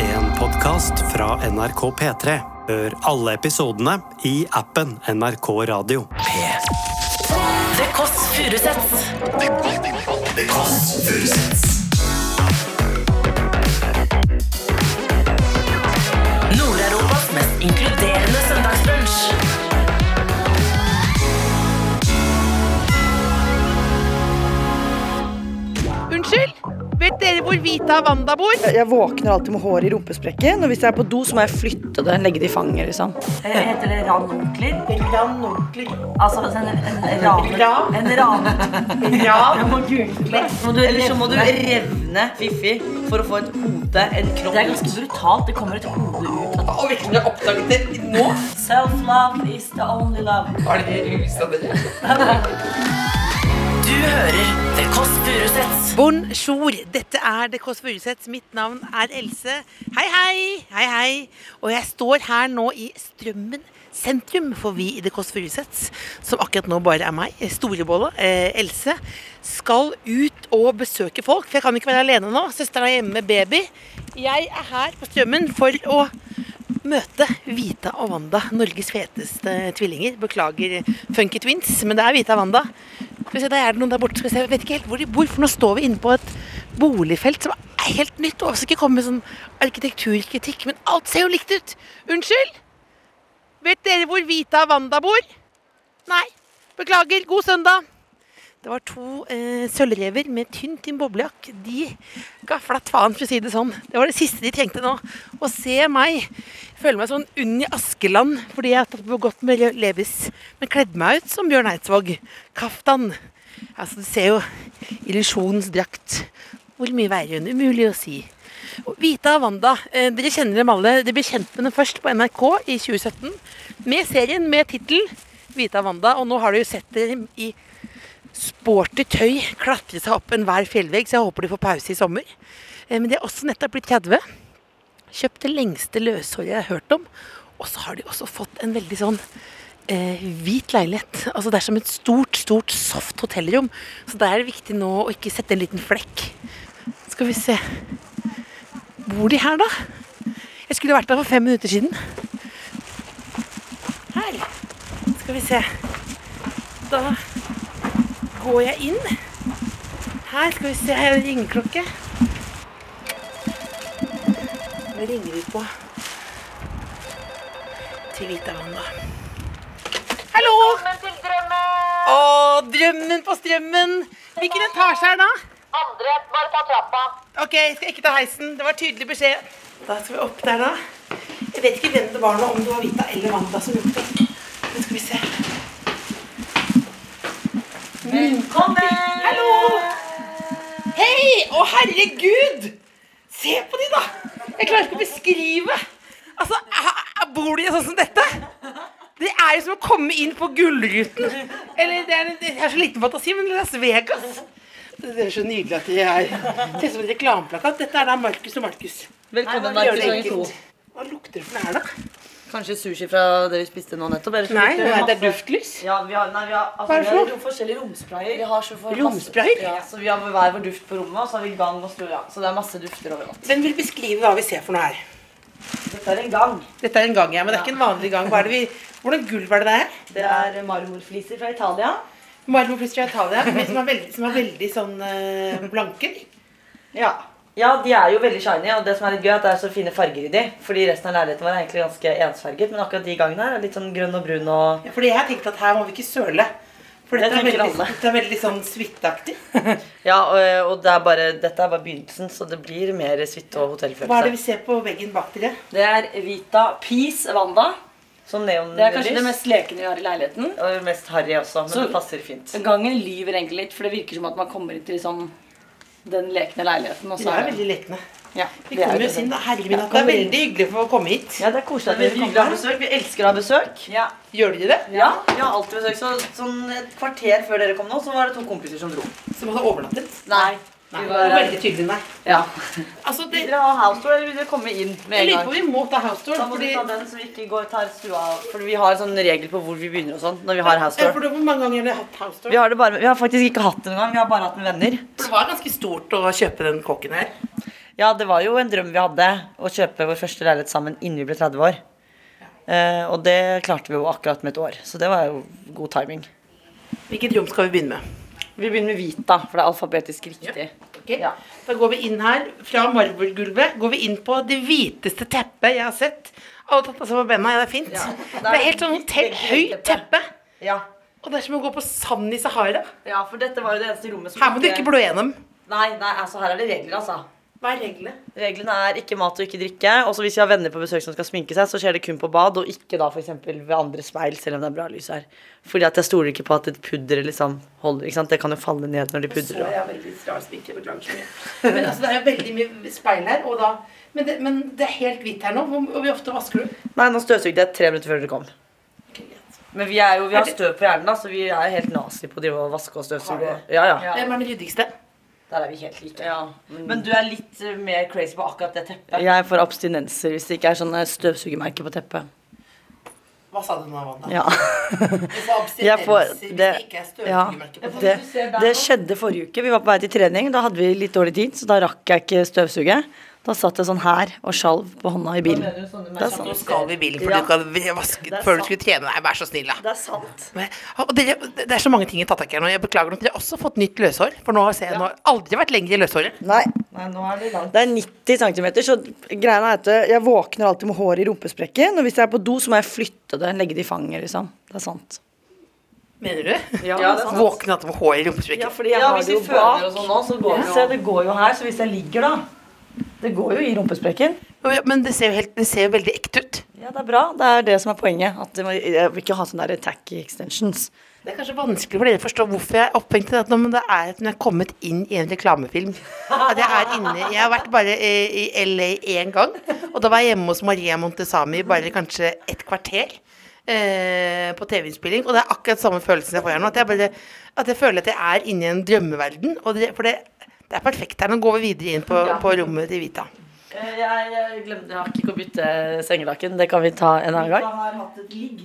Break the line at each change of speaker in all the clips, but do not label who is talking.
En podkast fra NRK P3. Hør alle episodene i appen NRK Radio.
The Kåss Furuseths. Nord-Europas mest inkluderende søndagsbrunch.
Unnskyld? Vet dere hvor Vita Wanda bor?
Jeg- Jeg våkner alltid med håret i rumpesprekken, og hvis jeg er på do, så må jeg flytte det. Legge det i fanget, liksom.
Eh, Heter det ranunkler? Altså en, en rane. En rane.
Må du, eller så må du revne Fiffi for å få et hode, en kropp
Det er ganske brutalt. Det kommer et hode ut. av-
Og virkelig har oppdaget det nå?
Self-love is the only love.
Er det rusa dere?
Du hører The Kåss Furuseths.
Bonjour, dette er The Kåss Furuseths. Mitt navn er Else. Hei, hei. Hei, hei. Og jeg står her nå i Strømmen sentrum, for vi i The Kåss Furuseths, som akkurat nå bare er meg, storebolla, eh, Else, skal ut og besøke folk. For jeg kan ikke være alene nå. Søsteren er hjemme med baby. Jeg er her på Strømmen for å møte Vita og Wanda, Norges feteste tvillinger. Beklager Funky Twins, men det er Vita og Wanda. Skal vi se, der er det noen der borte. Skal vi se. Jeg vet ikke helt hvor de bor, for nå står vi inne på et boligfelt som er helt nytt. Og jeg skal ikke komme med sånn arkitekturkritikk, men alt ser jo likt ut. Unnskyld? Vet dere hvor Vita og Wanda bor? Nei. Beklager. God søndag. Det var to eh, sølvrever med tynn, tynn boblejakk. De ga flatt faen, for å si det sånn. Det var det siste de trengte nå. Å se meg. Jeg føler meg sånn Unni Askeland fordi jeg har tatt på godt med le- Levis. Men kledde meg ut som Bjørn Eidsvåg. Kaftan. Altså, du ser jo illusjonsdrakt. Hvor mye veier hun? Umulig å si. Og Vita og Wanda, eh, dere kjenner dem alle. Dere ble kjent med dem først på NRK i 2017 med serien med tittel Vita og Wanda, og nå har du jo sett dem i sporty tøy klatre seg opp enhver fjellvegg, så jeg håper de får pause i sommer. Eh, Men de er også nettopp blitt 30. Kjøpt det lengste løshåret jeg har hørt om. Og så har de også fått en veldig sånn eh, hvit leilighet. Altså Det er som et stort, stort soft hotellrom. Så der er det viktig nå å ikke sette en liten flekk. Skal vi se Bor de her, da? Jeg skulle vært der for fem minutter siden. Her. Skal vi se. Da går jeg inn. Her skal vi se, her er det ringeklokke. Nå ringer vi på til Hvitavann, da. Hallo! Velkommen til Drømmen! Å, Drømmen på Strømmen! Hvilken etasje er det da?
Andre, bare ta trappa.
Ok, jeg skal ikke ta heisen. Det var tydelig beskjed. Da skal vi opp der, da. Jeg vet ikke hvem det var nå, om det var Vita eller Wanda som gjorde det. Nå skal vi se. Velkommen! Hallo! Hei! Å, herregud! Se på de, da! Jeg klarer ikke å beskrive. Altså, er- er- bor de sånn som dette? Det er jo som å komme inn på Gullruten. Eller det er, det er så liten fantasi, men Las Vegas. Det er så nydelig at de er Ser ut som en reklameplakat. Dette er da Markus og Markus.
Velkommen,
Gjør
Markus
det
Lange
enkelt.
to.
Hva lukter det for noe her, da?
Kanskje sushi fra det vi spiste nå nettopp? eller så
Nei,
lukter det
det
masse-
er duftlys.
Ja, vi har, nei, vi har, altså,
Hva er det
vi
for
har
noe?
rom- forskjellige romsprayer. Vi har så for masse-
Romsprayer?
Ja, så vi har hver vår duft på rommet, og så har vi gang og stua. Ja. Så det er masse dufter overalt.
Hvem vil beskrive hva vi ser for noe her?
Dette er en gang.
Dette er en gang, ja, men det er ikke en vanlig gang. Hva er det vi, hvordan gulv er det det er?
Det er marmorfliser fra Italia.
Marmorflis fra Italia, men som er veldig, som er veldig sånn eh, blanke. de.
Ja. ja, de er jo veldig shiny, og det som er litt gøy er at det er så fine farger i de. Fordi resten av leiligheten vår er egentlig ganske ensfarget, men akkurat de gangene her er litt sånn grønn og brun og
Ja, Fordi jeg tenkte at her må vi ikke søle. For
Det
dette er
tenker
veldig,
alle.
dette er veldig sånn suiteaktig.
Ja, og, og det er bare, dette er bare begynnelsen, så det blir mer suite og
Hva er det
hotellfølelse.
vi ser på veggen bak dere?
Det er Vita Peace Wanda.
Sånn neonlys.
Det er kanskje det mest lekende vi har i leiligheten.
Og mest harry også, men
Så-
det passer fint.
Gangen lyver egentlig litt, for det virker som at man kommer inn til liksom, den lekne leiligheten. Og
De
så
er
er det
veldig lekne.
ja.
Vi
Det er
kommer
jo
oss
det.
inn. da. Herre min, at det
kommer
er veldig hyggelig for å komme hit.
Ja, det er koselig at
Det
dere
er veldig
kommer og har besøk. Vi elsker å ha besøk.
Ja.
Gjør de det?
Ja, vi har alltid besøk. Så sånn et kvarter før dere kom nå, så var det to kompiser som dro.
Som hadde overnattet?
Nei.
Nei,
Vi
det var
var,
veldig tydelig, nei.
ja.
Altså, det,
Vil dere ha house tour, eller vil dere komme inn
jeg
med en
lurer
gang?
på om vi må ta house tour.
Da må du
Fordi,
ta den så vi ikke går, tar stua av. For vi har en sånn regel på hvor vi begynner og sånn når vi har house
Ja, for
tour.
det- hvor mange ganger har dere hatt house tour?
Vi har, det bare, vi har faktisk ikke hatt det engang. Vi har bare hatt med venner.
For det var ganske stort å kjøpe den kåken her.
Ja, det var jo en drøm vi hadde, å kjøpe vår første leilighet sammen innen vi ble 30 år. Eh, og det klarte vi jo akkurat med et år, så det var jo god timing.
Hvilket rom skal vi begynne med?
Vi begynner med hvit,
Da, for det er alfabetisk riktig.
Ok, Da går vi inn her, fra marmorgulvet, går vi inn på det hviteste teppet jeg har sett. Alle tatt av seg på bena, ja, det er fint. Det er helt sånn hotell, høyt teppe.
Ja.
Og det er som å gå på sand i Sahara.
ja, for dette var jo det eneste rommet som
Her må du ikke blå gjennom.
Nei, nei, altså her er det regler, altså.
Hva er reglene?
Reglene er ikke mat og ikke drikke. Og så hvis vi har venner på besøk som skal sminke seg, så skjer det kun på bad, og ikke da f.eks. ved andre speil, selv om det er bra lys her. Fordi at jeg stoler ikke på at et pudder liksom holder, ikke sant. Det kan jo falle ned når de pudrer. og-
er veldig rar sminke, beklager så mye. Men altså, det er jo veldig mye speil her, og da Men det, men det er helt hvitt her nå. Hvor hvor ofte vasker du?
Nei, nå støvsugde jeg tre minutter før dere kom. Men vi, er jo, vi har støv på hjernen, da, så vi er helt nazi på å drive og vaske og støvsuge. Ja, ja.
Hvem er den ryddigste?
Der er vi helt like. Mm.
Men du er litt eh, mer crazy på akkurat det teppet.
Jeg får abstinenser hvis det ikke er sånn støvsugermerke på teppet.
Hva sa du nå, Wanda?
Ja.
Du får
Jeg får-
abstinenser hvis det
det-
ikke er
ja.
støvsugermerke på
Det, det skjedde forrige uke. Vi var på vei til trening. Da hadde vi litt dårlig tid, så da rakk jeg ikke støvsuge. Da satt jeg sånn her og sjalv på hånda i bilen. Det er
Nå
sant.
skal vi i bilen for
Ja.
du skal vaske før du skulle trene. Nei, vær så snill, da.
Det er sant.
Men- Og dere, det er så mange ting jeg har tatt tak i her nå. Jeg beklager nok. Dere har også fått nytt løshår. For nå ser jeg nå har jeg aldri vært lenger i løshåret.
Nei. Det er 90 cm, så greia er at jeg våkner alltid med håret i rumpesprekken. Og hvis jeg er på do, så må jeg flytte det, legge det i fanget, liksom. Det er sant.
Mener du?
Ja,
Våkne at det var hår i rumpesprekken.
fordi
Ja, hvis vi føler og sånn nå, så går vi jo
det går jo her, så hvis jeg ligger, da Det går jo i rumpesprekken.
Men det ser jo helt, det ser jo veldig ekte ut.
Ja, det er bra. Det er det som er poenget. At det må, jeg vil ikke ha sånne der tacky extensions.
Det er kanskje vanskelig for dere å forstå hvorfor jeg er opphengt i dette, nå, men det er at når jeg er kommet inn i en reklamefilm At jeg er inne Jeg har vært bare eh, i LA én gang, og da var jeg hjemme hos Maria Montesami i bare kanskje et kvarter. Eh, på TV-innspilling, og det er akkurat samme følelsen jeg får her nå. At jeg, bare, at jeg føler at jeg er inne i en drømmeverden. Og det, for det, det er perfekt her. Nå går vi videre inn på, på rommet til Vita.
Eh, Jeg, glemte jeg har ikke å bytte sengelaken. Det kan vi ta en annen gang.
har hatt et ligg.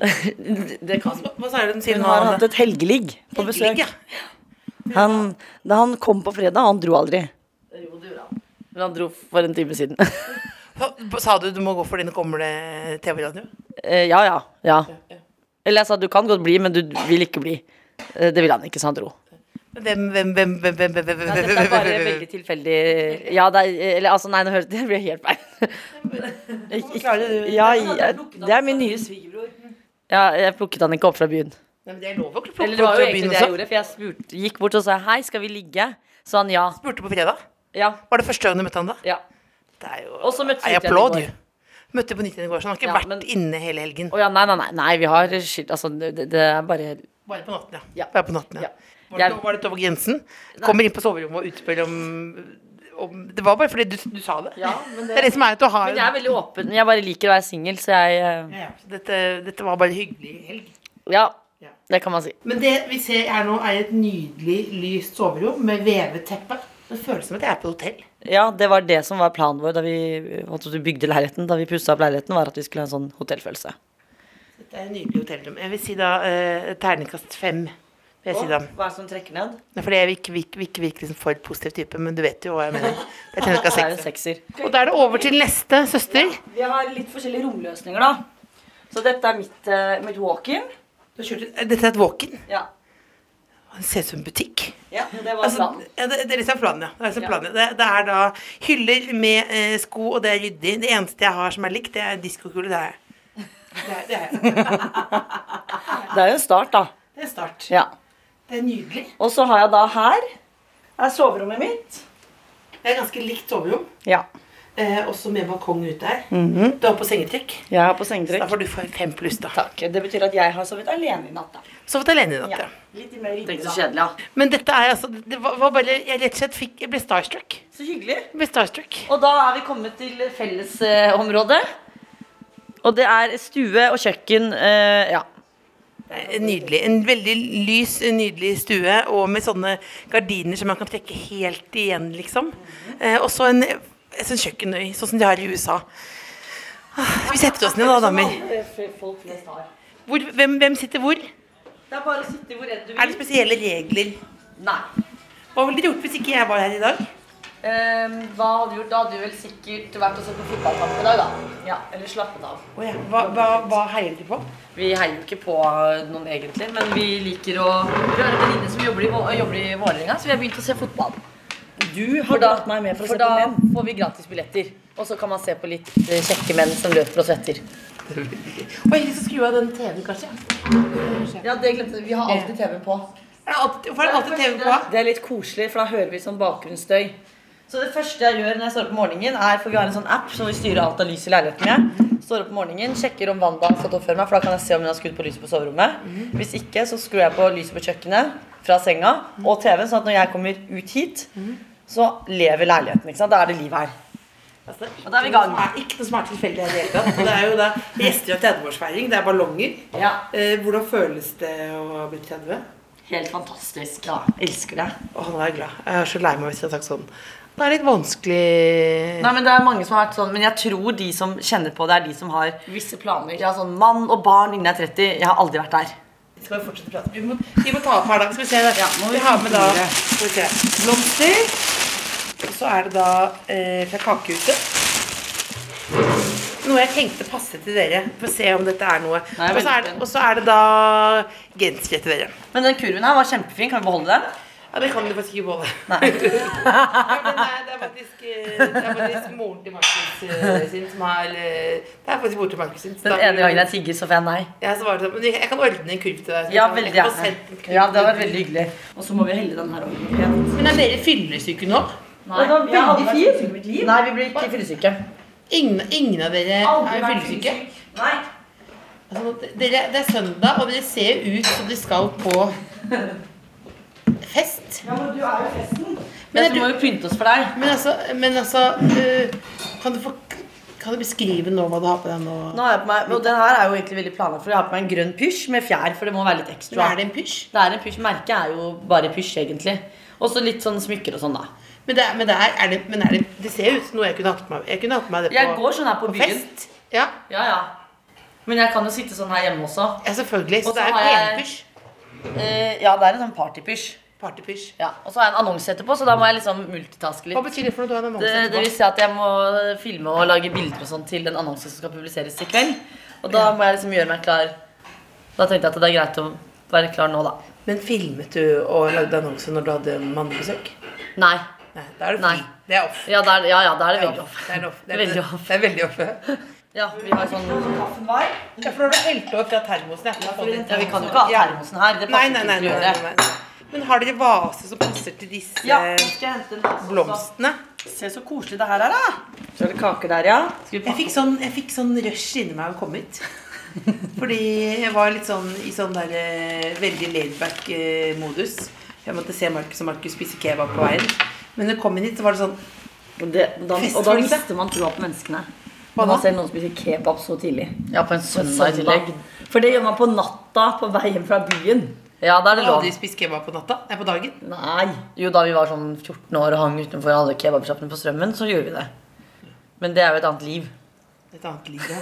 Det kan.
Hva sa du den sier
Hun
nå?
har hatt et helgeligg på besøk.
ja.
Han, da han kom på fredag, han dro aldri. Eh, Men han dro for en time siden.
Sa du du må gå for dine kommende TV-radio?
Eh, ja, ja, ja. Eller jeg sa du kan godt bli, men du vil ikke bli. Eh, Det ville han ikke, så han dro.
Hvem, hvem, hvem, hvem, hvem, hvem, hvem,
Dette er bare veldig tilfeldig Ja, det er Eller altså, nei, nå høres det blir helt feil. Ik- ik- Ja, jeg, det er min nye svigerbror. Ja, jeg plukket han ikke opp fra byen.
Nei, men det er lov å plukke
Eller det var jo
fra byen
egentlig det jeg
også.
gjorde, for jeg spurte, gikk bort og sa hei, skal vi ligge? Så han ja.
Spurte på fredag.
Ja.
Var det første gang du møtte han da?
ja.
Det er jo
Og så møtte
Nei,
jeg
applaud,
igjen i går.
du. Møtte på nytt igjen i går, så han har ikke
Ja,
vært
men-
inne hele helgen.
Å ja, nei, nei, nei, nei, vi har skilt Altså, det, det er bare
Bare på natten, ja.
Ja.
Bare på natten, ja.
Ja.
Var, det,
Jeg-
var det over grensen? Kommer inn på soverommet og utspør om, om Det var bare fordi du, du sa det.
Ja, men
det er det som er at du har
Men jeg er veldig åpen. Jeg bare liker å være singel, så jeg eh,
ja, så dette, dette var bare hyggelig helg.
Ja.
Ja.
Det kan man si.
Men det vi ser her nå, er et nydelig lyst soverom med vevet teppe. Det føles som at jeg er på hotell.
Ja, det var det som var planen vår da vi eh, holdt på å bygde leiligheten. Da vi pussa opp leiligheten, var at vi skulle ha en sånn hotellfølelse.
Det er en nydelig hotellrom. Jeg vil si da eh, terningkast fem. Vil jeg si da.
Hva er det som trekker ned?
Nei, Fordi jeg vil ikke, vil ikke, vil ikke virke liksom for positiv type, men du vet jo hva jeg mener. Det er terningkast
Det er en
seks.
sekser.
Og da er det over til neste søster.
Vi har litt forskjellige romløsninger, da. Så dette er mitt, eh, mitt walk-in.
Du har kjørt- Dette er et walk-in.
Ja.
Det ser ut som en butikk.
Ja, det var
Altså,
planen.
ja, det, det er liksom planen, ja. Det er, liksom planen, ja. det, det er da hyller med eh, sko, og det er ryddig. Det eneste jeg har som er likt, det er diskokule. Det er jeg. Det er, det er, jeg.
Det er jo en start, da.
det er start.
Ja.
Det er nydelig.
Og så har jeg da her
er soverommet mitt.
Det er ganske likt soverom,
Ja.
eh, også med balkong ute her. Du har på sengetrekk.
Jeg har på
Da
sengetrekk.
får du fem pluss, da.
Mhm. Takk. Det betyr at jeg har sovet alene i natt, da.
Sovet alene i natt, ja.
Litt mer
Det er
ryddig,
ikke så
da.
kjedelig, da.
Men dette er altså Det var, var bare Jeg rett og slett fikk Jeg ble starstruck.
Så hyggelig.
Jeg ble starstruck.
Og da er vi kommet til fellesområdet. Og det er stue og kjøkken. eh, ja.
En Eh, Nydelig. En veldig lys, en nydelig stue, og med sånne gardiner som man kan trekke helt igjen, liksom. Eh, og så en en sånn kjøkkenøy, sånn som de har i USA. Ah, Vi setter oss ned da, damer.
Folk flest har.
Hvor, hvem, hvem sitter hvor?
Det er bare å sitte hvor enn du
Er det spesielle regler?
Nei.
Hva ville dere gjort hvis ikke jeg var her i dag?
Ehm, hva hadde du gjort? Da hadde du vel sikkert vært og sett på fotballkamp i dag, da. Ja, Eller slappet av.
Hva, hva, hva heier du på?
Vi heier jo ikke på noen egentlig, men vi liker å Vi har en venninne som jobber i, Vå- jobber i Vålerenga, så vi har begynt å se fotball.
Du
For
har
da,
dratt meg med for å
for
se på
da
menn.
får vi gratis billetter. Og så kan man se på litt eh, kjekke menn som løper og svetter.
Oi, så skru av den TV-en, kanskje.
Ja, det glemte Vi har alltid TV på.
Er det alltid, hvorfor er det alltid TV på?
Det er litt koselig, for da hører vi sånn bakgrunnsstøy. Så det første jeg gjør når jeg står opp om morgenen, er For vi har en sånn app som vi styrer alt av lys i leiligheten med. Står opp om morgenen, sjekker om Wanda har fått opp før meg, for da kan jeg se om hun har skrudd på lyset på soverommet.
Mhm.
Hvis ikke, så skrur jeg på lyset på kjøkkenet fra senga
Mhm.
og TV-en, sånn at når jeg kommer ut hit, så lever leiligheten. ikke sant? Da er det liv her. Og da er vi i gang.
Det er ikke noe som er tilfeldig i det hele tatt. Og Det er jo da gjester og 30-årsfeiring. Det er ballonger.
Ja.
Eh, hvordan føles det å ha blitt 30?
Helt fantastisk. Ja.
Elsker det.
Å, nå er jeg glad. Jeg er så lei meg hvis jeg har sagt sånn. Det er litt vanskelig
Nei, men Det er mange som har vært sånn, men jeg tror de som kjenner på det, er de som har
Visse planer.
ja, sånn mann og barn innen jeg er 30. Jeg har aldri vært der.
Skal vi fortsette å prate? Vi må, vi må ta opp her, da. Skal vi se. Ja, vi har med da skal vi se. blomster. Og så er det da eh, fra Kakehuset. Noe jeg tenkte passe til dere. For å se om dette er noe.
Nei,
Og så er, det- og så er det da gensere til dere.
Men den kurven her var kjempefin. Kan vi beholde den?
Ja, det kan du faktisk ikke beholde. Nei. det er faktisk, eh, det er faktisk moren til Markus eh, sin som har eh, Det er faktisk moren til Markus sin. så
Den
da-
ene gangen jeg tigger, så får jeg nei.
Ja, så var det sånn. Men jeg kan ordne en kurv til deg. så
Ja,
kan-
veldig
jeg kan
gjerne.
sende en kurv
Ja, det
til
hadde
deg.
vært veldig hyggelig.
Og så må vi helle den her over.
Men er dere fyllesyke nå?
Nei,
Det var
jeg har aldri
veldig
vært
fin.
syk i mitt liv.
Nei, vi blir ikke fyllesyke.
Ingen, ingen av dere
Aldri
er
vært
fyllesyke?
Nei.
Altså, dere, det er søndag, og dere ser jo ut som dere skal på fest.
Ja, men du er jo festen.
Men
Men
er
du må jo pynte oss for deg.
Men altså, men altså øh, kan, du fork- kan du beskrive nå hva du har på deg nå?
Nå har jeg på meg, og den her er jo egentlig veldig planlagt for. Jeg har på meg en grønn pysj med fjær, for det må være litt
Nå
ekstra.
er det en pysj.
Det er en pysj. Merket er jo bare pysj, egentlig. Og så litt sånn smykker og sånn, da.
Men, det, er- men, det, er, er det, men er det, det ser jo ut som noe jeg kunne hatt på meg. Jeg kunne hatt på meg det på,
Jeg går sånn her på
på
byen.
fest. Ja,
Ja, ja. Men jeg kan jo sitte sånn her hjemme også.
ja, selvfølgelig. Så
Og så
det er
har jeg-
penpysj.
Eh, ja, det er en sånn partypysj.
Partypysj.
Ja. Og så har jeg en annonse etterpå, så da må jeg liksom multitaske litt.
Hva betyr det for noe du har med
Det,
mamma
det vil si at jeg må filme og lage bilder og sånn til en annonse som skal publiseres i kveld. Og da må jeg liksom gjøre meg klar. Da tenkte jeg at det er greit å være klar nå, da.
Men filmet du og lagde annonse når du hadde mannebesøk?
Nei.
Nei, da er du
Nei.
fri. Det er off.
Ja, da er, det- ja, ja, da er det
Det er
veldig
off.
off.
Det er off. Det er
Veldig
det-
off.
Det er veldig off. ja.
Ja, vi har sånn
Ja, for nå har du helt over fra termosen. Jeg.
Ja, vi kan jo ikke ha termosen sånn her. Det
Nei,
passer
nei,
ikke
nei,
til å
nei,
gjøre.
nei, nei. Men har dere vase som passer til disse
Ja, nå skal jeg hente en vase også.
blomstene?
Se så koselig det her er, da. Så er det kaker der, ja. Skal vi
Jeg
pakke
fikk sånn, jeg fikk sånn rush inni meg av å komme hit. Fordi jeg var litt sånn i sånn der eh, veldig laidback-modus. Jeg måtte se Markus og Markus spise kebab på veien. Men når jeg kom inn hit, så var det sånn
Og, det, da, og da
Festfølelse.
mister man troa på menneskene.
Hva
Når man
da?
ser noen spise kebab så tidlig.
Ja, på en søndag i tillegg.
For det gjør man på natta på vei hjem fra byen.
Ja, da er
Jeg
det
har
lov.
aldri spist kebab på natta. Nei, på dagen.
Nei.
Jo, da vi var sånn 14 år og hang utenfor alle kebabsjappene på Strømmen, så gjorde vi det. Men det er jo et annet liv.
Et annet liv, ja.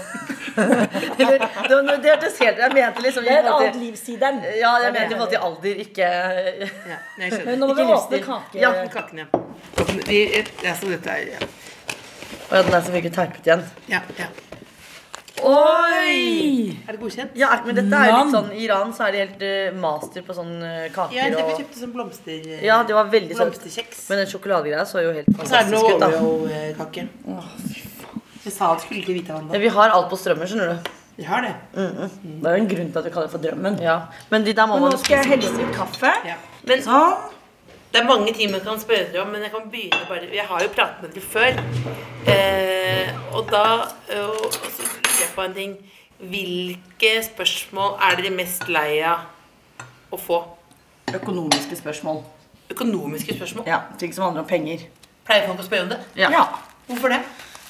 Eller, det, det, det hørtes helt Jeg mente liksom
Det er et annet
liv.
livsideren.
Ja, jeg mente i forhold til alder, ikke
ja jeg skjønner.
Men nå må vi åpne
livsstil.
kake.
Ja.
Åpne kaken, ja. Åpne, vi, altså, dette er ja.
Å ja, den er så mye terpet igjen.
Ja, ja.
Oi!
Er det godkjent?
Ja, men dette er jo litt sånn I Iran så er de helt eh, master på sånn eh, kaker
Ja, det vi
og
kjøpte sånn blomster...
Ja, det var veldig søtt.
blomsterkjeks.
Men den sjokoladegreia så jo helt
Så er det
fantastisk
noe
ut, da.
Oreo-kake. Jeg sa at du skulle ikke vite hva
Ja,
det var.
vi har alt på strømmen, skjønner du.
Vi har det.
Det er jo en grunn til at du kaller det for drømmen.
Ja. Men de der må
Nå
man liksom sånn- jo
skal jeg helle ut kaffe.
Men det er mange ting man kan spørre dere om, men jeg kan begynne bare Jeg har jo pratet med dere før. Eh, og da eh, og så lurer jeg på en ting. Hvilke spørsmål er dere mest lei av å få?
Økonomiske spørsmål.
Økonomiske spørsmål?
Ja, Ting som handler om penger.
Pleier folk å spørre om det?
Ja.
Hvorfor det?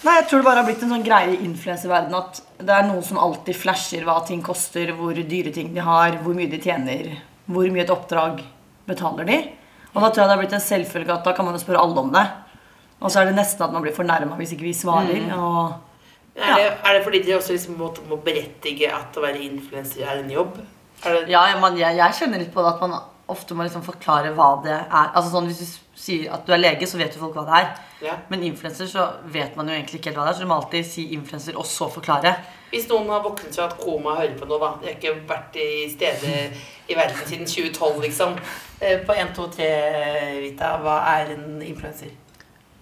Nei, Jeg tror det bare har blitt en sånn greie i influenserverdenen at det er noen som alltid flasher hva ting koster, hvor dyre ting de har, hvor mye de tjener, hvor mye et oppdrag betaler de. Og da tror jeg det har blitt en selvfølge at da kan man jo spørre alle om det. Og så er det nesten at man blir fornærma hvis ikke vi svarer. og...
Er, det er det fordi dere også liksom må, må berettige at å være influenser er en jobb? Er det,
Ja, ja, man, jeg, jeg kjenner litt på det at man ofte må liksom forklare hva det er. Altså sånn Hvis du s- sier at du er lege, så vet jo folk hva det er.
Ja.
Men influenser så vet man jo egentlig ikke helt hva det er, så du må alltid si influenser og så forklare.
Hvis noen har våknet fra et koma og hører på noe, da. Jeg har ikke vært i stedet i verden siden 2012, liksom. Eh, På 1, 2, 3, Vita, hva er en influenser?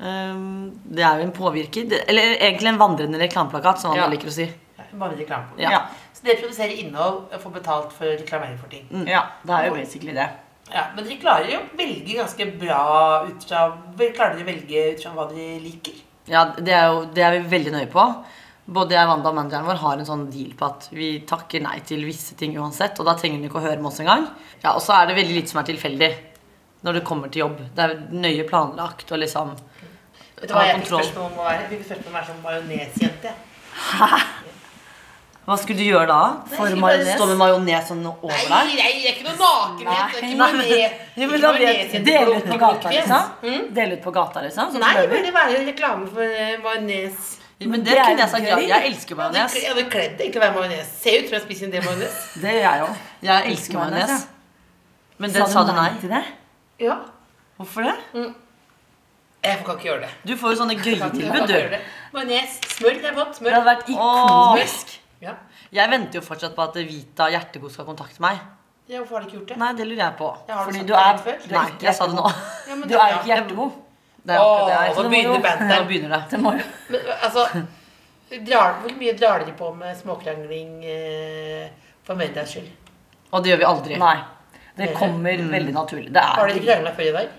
Ehm, det er jo en påvirker. Det- Eller egentlig en vandrende reklameplakat, som man
Ja.
liker å si.
Bare reklame.
Ja.
Så dere produserer innhold og får betalt for å reklamere for ting.
Mm.
Ja, det er jo basically det.
Ja, men dere klarer jo å velge ganske bra ut fra vel, Klarer dere å velge ut fra hva dere liker?
Ja, det er, jo, det er vi veldig nøye på. Både jeg og Wanda og manageren vår har en sånn deal på at vi takker nei til visse ting uansett. Og da trenger hun ikke å høre med oss engang. Ja, og så er det veldig lite som er tilfeldig når det kommer til jobb. Det er nøye planlagt og liksom
Vet du hva
Ha
jeg fikk
kontroll.
spørsmål om å være? Jeg fikk spørsmål om å være sånn majonesjente.
Hva skulle du gjøre da? For
skulle
majones?
bare-
Stå med majones sånn over
Nei,
deg?
nei, det er ikke noe nakenhet. Det er ikke majones.
Jo, men da blir det Dele ut på gata,
Mm?
liksom? Dele ut på gata, liksom? Sånn
Nei,
prøver.
burde det være reklame for eh, majones?
Men det kunne jeg sagt ja. Jeg elsker
Jeg hadde
majones.
kle- jeg hadde kledd egentlig å være majones. Ser ut som jeg spiser en del majones.
Det gjør jeg òg.
Jeg elsker majones. Men den
Sa
sa
du
du nei.
til det?
Ja.
Hvorfor det?
Jeg kan ikke gjøre det.
Du får jo sånne
Jeg kan ikke- jeg
gøyetilbud,
kan ikke gjøre
du.
det. Majones. Smør. Det er godt.
Det hadde
Smør.
vært ikonisk.
Ja.
Jeg venter jo fortsatt på at Vita Hjerteko skal kontakte meg.
ja, hvorfor har du ikke gjort det?
Nei, det lurer jeg på.
Ja, har du
Fordi
sagt
du
det
er
rett før?
Nei, jeg sa det nå.
Ja, men
Du
det
er jo
bra.
ikke hjertegod.
Det er akkurat det jeg er.
Åh,
Så
nå
det må jo-
begynner bandet.
Nå begynner det.
Det må jo
Men altså drar, Hvor mye drar dere på med småkrangling eh, for middags skyld?
Og det gjør vi aldri.
Nei. Det kommer veldig naturlig. Det
Har
er
dere krangla før i dag?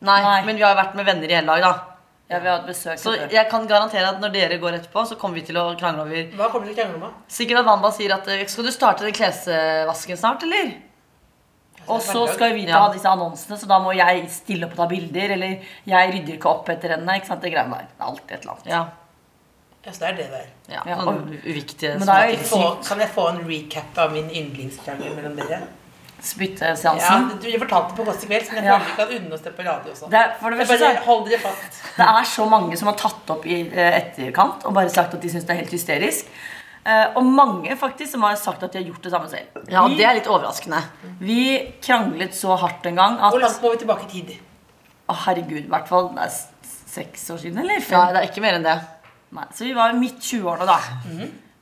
Nei,
Nei.
men vi har vært med venner i hele dag, da.
Jeg vil ha et besøk.
Så jeg kan garantere at når dere går etterpå, så kommer vi til å krangle over
Hva kommer dere til å krangle om? da?
Sikkert at Wanda sier at eh, Skal du starte den klesvasken snart, eller?
Og
Altså,
så skal vi
Ja.
ta disse annonsene, så da må jeg stille opp og ta bilder. Eller jeg rydder ikke opp etter henne. ikke sant, det greiene der. Det er alltid et eller annet.
Ja.
Ja, så det er det der.
ja.
Ja,
Sånn uviktige
Men det er
småting.
jo helt
Få,
sykt.
kan jeg få en recap av min yndlingskrangel mellom dere? Ja,
Spytteseansen.
du du fortalte på Kåss i kveld, men jeg
Ja.
føler vi kan unne oss det på radio også.
Det er, for det,
Jeg
første, så
bare
er-
hold dere fast.
det er så mange som har tatt opp i eh, etterkant og bare sagt at de syns det er helt hysterisk. Eh, og mange faktisk som har sagt at de har gjort det samme selv.
Ja,
Vi-
det er litt overraskende.
Vi kranglet så hardt en gang at
Hvor langt må vi tilbake i tid?
Å, herregud, i hvert fall det er s- seks år siden, eller?
Nei,
Fem?
det er ikke mer enn det.
Nei, så vi var midt 20-årene da.